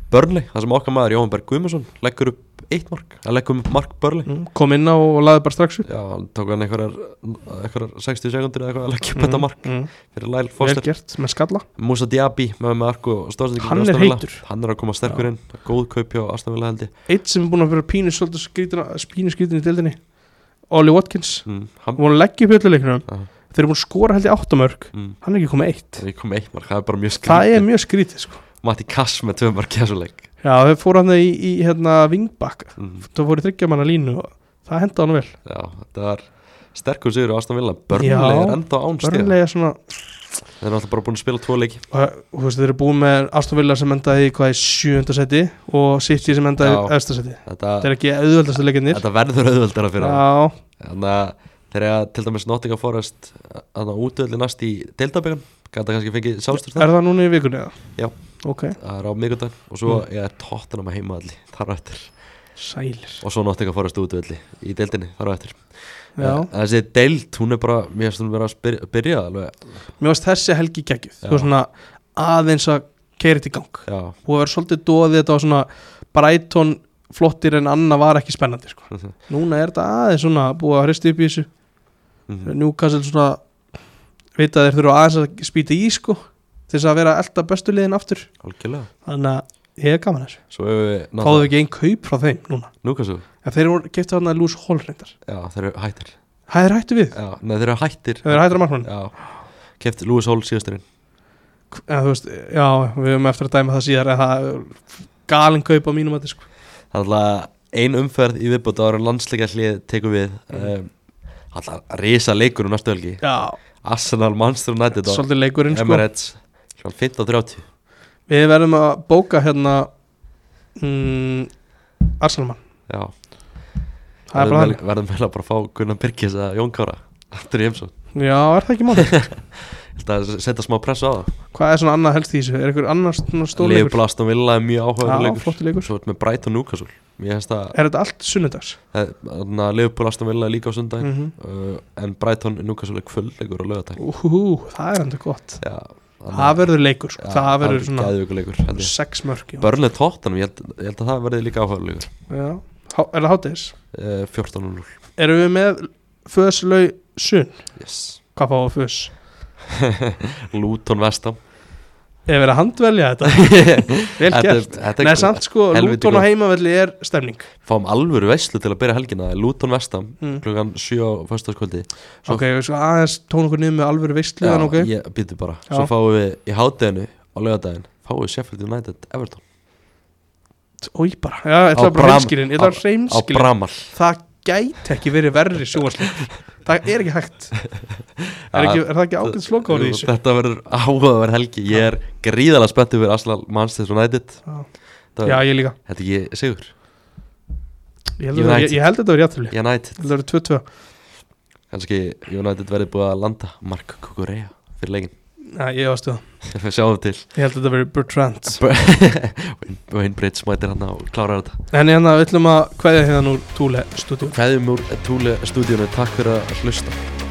Speaker 3: Burnley, það sem okkar maður Jóhann Berg Guðmundsson leggur upp eitt mark, hann leggur upp mark Burnley
Speaker 4: Mm, kom inn á og laði bara strax upp
Speaker 3: Já, hann tók hann einhverjar, einhverjar 60 sekundir eða eitthvað að leggja upp þetta mark
Speaker 4: mm,
Speaker 3: fyrir Lyle
Speaker 4: vel
Speaker 3: Foster,
Speaker 4: gert með skalla
Speaker 3: Musa Diaby með með arku og stóðsendingu
Speaker 4: Hann er heitur.
Speaker 3: Hann er að koma sterkur inn, góð kaup hjá Aston Villa held ég
Speaker 4: eitt sem er búin að vera pínu svolítið skrítin pínu skrítin í deildinni Ollie Watkins
Speaker 3: mm,
Speaker 4: hann
Speaker 3: Hann
Speaker 4: voru að leggja upp hölluleiknum
Speaker 3: Já.
Speaker 4: þeir eru búin að skora held ég 8 mörg
Speaker 3: Mm.
Speaker 4: hann er ekki komið eitt
Speaker 3: Við komum eitt mark, það er bara mjög
Speaker 4: það er
Speaker 3: skrítið
Speaker 4: mjög skrítið sko
Speaker 3: Matti Kass með tvö mark kjæsuleik
Speaker 4: já þau fóru hann í, í hérna vingbakka
Speaker 3: mm.
Speaker 4: það fóru þryggja manna línu og það henda hann vel
Speaker 3: Já, þetta var sterkur sigur á Aston Villa Burnley
Speaker 4: Já,
Speaker 3: er enda
Speaker 4: Um
Speaker 3: án stiga
Speaker 4: börnlega svona
Speaker 3: Þeir eru alltaf bara búin að spila tvo leiki
Speaker 4: og og þú veist þeir eru búin með Aston Villa sem endaði í hvað í sjönda seti og City sem endaði í
Speaker 3: Já.
Speaker 4: efsta seti
Speaker 3: Þetta,
Speaker 4: þetta er ekki auðveldastu leikinnir
Speaker 3: þetta verður auðveldara fyrir hann
Speaker 4: já
Speaker 3: Þannig að þegar til dæmis Nottingham Forest Þannig að útvöldi næst í deildabögan Gæta kannski fengið sjálfstyrst
Speaker 4: Er það núna í vikunni eða?
Speaker 3: Já.
Speaker 4: Ok,
Speaker 3: Það er á miðgutag Og svo
Speaker 4: Mm.
Speaker 3: er Tottenham að heima allir Þar á eftir
Speaker 4: sælir
Speaker 3: Og svo Nottingham Forest útvöldi í deildinni Þar á eftir
Speaker 4: Já,
Speaker 3: En Þessi deild, hún er bara Mér finnst hún vera að spyr- byrja alveg
Speaker 4: mér varst þessi helgi geggjuð
Speaker 3: Já.
Speaker 4: Þú var svona aðeins að keira þetta í gang
Speaker 3: Já,
Speaker 4: Og verður svolítið doðið þetta var svona Brighton flottir en annað var ekki spennandi sko. Núna er þetta aðeins svona búið að hristi upp í þessu
Speaker 3: Mhm.
Speaker 4: Newcastle svona Vita að þeir þurfa aðeins að spýta í sko Til þess að vera elda bestu liðin aftur
Speaker 3: algjörlega
Speaker 4: Þannig að ég er gaman að þessu
Speaker 3: Svo hefur við
Speaker 4: Fáðu við ekki einn kaup frá þeim núna
Speaker 3: Núkassu
Speaker 4: Ef þeir voru kipta þarna lús hól reyndar
Speaker 3: Já, þeir eru hættir
Speaker 4: Það er hættu við,
Speaker 3: Já, neð, þeir eru hættir
Speaker 4: það er hættur að markmann
Speaker 3: Já Keft Lewis Hall síðasturinn
Speaker 4: eða þú veist, já, við höfum eftir að dæma það síðar en það er galin kaup á mínum að sko.
Speaker 3: Það er alltaf ein umferð í viðbútt ára landsleika hlið tekum við
Speaker 4: Mhm.
Speaker 3: um, Alltaf risa leikur um næstu helgi
Speaker 4: já,
Speaker 3: Arsenal, Manchester United og
Speaker 4: svolítið leikurinn sko.
Speaker 3: Emirates Sjálf 15-30
Speaker 4: við verðum að bóka hérna mm, Arsenalmann
Speaker 3: Já
Speaker 4: það er bara
Speaker 3: Verðum
Speaker 4: þannig,
Speaker 3: vel- verðum vel að bara fá Gunnar Birkis eða Jón Kára Aftur í heimsum
Speaker 4: já, er það ekki mál
Speaker 3: Þetta setja smá pressu á það
Speaker 4: hvað er svona annað helst í þessu, er einhver annar svona stór leikur
Speaker 3: Leifblast og Villa er mjög áhugaður
Speaker 4: Já,
Speaker 3: leikur
Speaker 4: flottur leikur.
Speaker 3: Svo er með Brighton Newcastle Mér finnst að
Speaker 4: Er þetta allt sunnudags?
Speaker 3: Þannig að Liverpool Aston Villa er líka á sundaginn
Speaker 4: Mm
Speaker 3: uh, En Brighton Newcastle er kvöldleikur á lögatæk
Speaker 4: Úhú, það er enda gott
Speaker 3: Já,
Speaker 4: Það verður leikur, sko. það verður svona
Speaker 3: Gæðvíkuleikur
Speaker 4: sex mörg já.
Speaker 3: Börnlega tóttanum, ég held, ég held að það verði líka áhugaleikur
Speaker 4: Já. Há, Er það hátis?
Speaker 3: uh, 14.0
Speaker 4: Erum við með föðslau sunn?
Speaker 3: yes.
Speaker 4: Hvað fá að föðs?
Speaker 3: Luton Vestam
Speaker 4: Ef við að handvelja þetta, vel
Speaker 3: Þetta er-
Speaker 4: gert
Speaker 3: þetta er-
Speaker 4: Nei, samt sko,
Speaker 3: helviti
Speaker 4: Lúton á
Speaker 3: gott.
Speaker 4: heimavelli er stemning
Speaker 3: Fáum alvöru veislu til að byrja helgina Luton Vestam
Speaker 4: Mm.
Speaker 3: klukkan 7 á föstaskvöldi Svo-
Speaker 4: Ok, við sko aðeins tónu okkur niður með alvöru veistlu þannig, ok?
Speaker 3: ég býtu bara
Speaker 4: Já.
Speaker 3: Svo fáum við í hátteginu á lögadaginn Fáum við Sheffield United Everton
Speaker 4: Ói bara, já, ég ætla
Speaker 3: Á
Speaker 4: bara
Speaker 3: Bram-
Speaker 4: reynskilin Ég ætla
Speaker 3: á-
Speaker 4: bara
Speaker 3: Á
Speaker 4: reynskilin
Speaker 3: Bramal
Speaker 4: Það gæti ekki verið verri sjóarsleikur Það er ekki hægt Er, ekki, er það ekki ágætt slokkáður í þessu?
Speaker 3: Þetta verður áhugaverð helgi Ég er gríðalega spettu fyrir Arsenal Manchester United
Speaker 4: Já.
Speaker 3: Það-
Speaker 4: Já, ég líka
Speaker 3: Þetta er ekki sigur
Speaker 4: Ég held að þetta-
Speaker 3: United.
Speaker 4: ég- ég held að þetta verið játtölu Ég
Speaker 3: United
Speaker 4: held að þetta verið 2-2
Speaker 3: Kannski United verður búið að landa Mark Kukurea fyrir leikin
Speaker 4: Nei, ég varstu það
Speaker 3: Við sjáum til
Speaker 4: Ég held að þetta verið Bertrand
Speaker 3: Wayne- Wayne Bridge mætir hann og klárar þetta
Speaker 4: En hérna, við ætlum að kveðja hérna úr Túle stúdíu
Speaker 3: Kveðjum úr Túle stúdíunum Takk fyrir að hlusta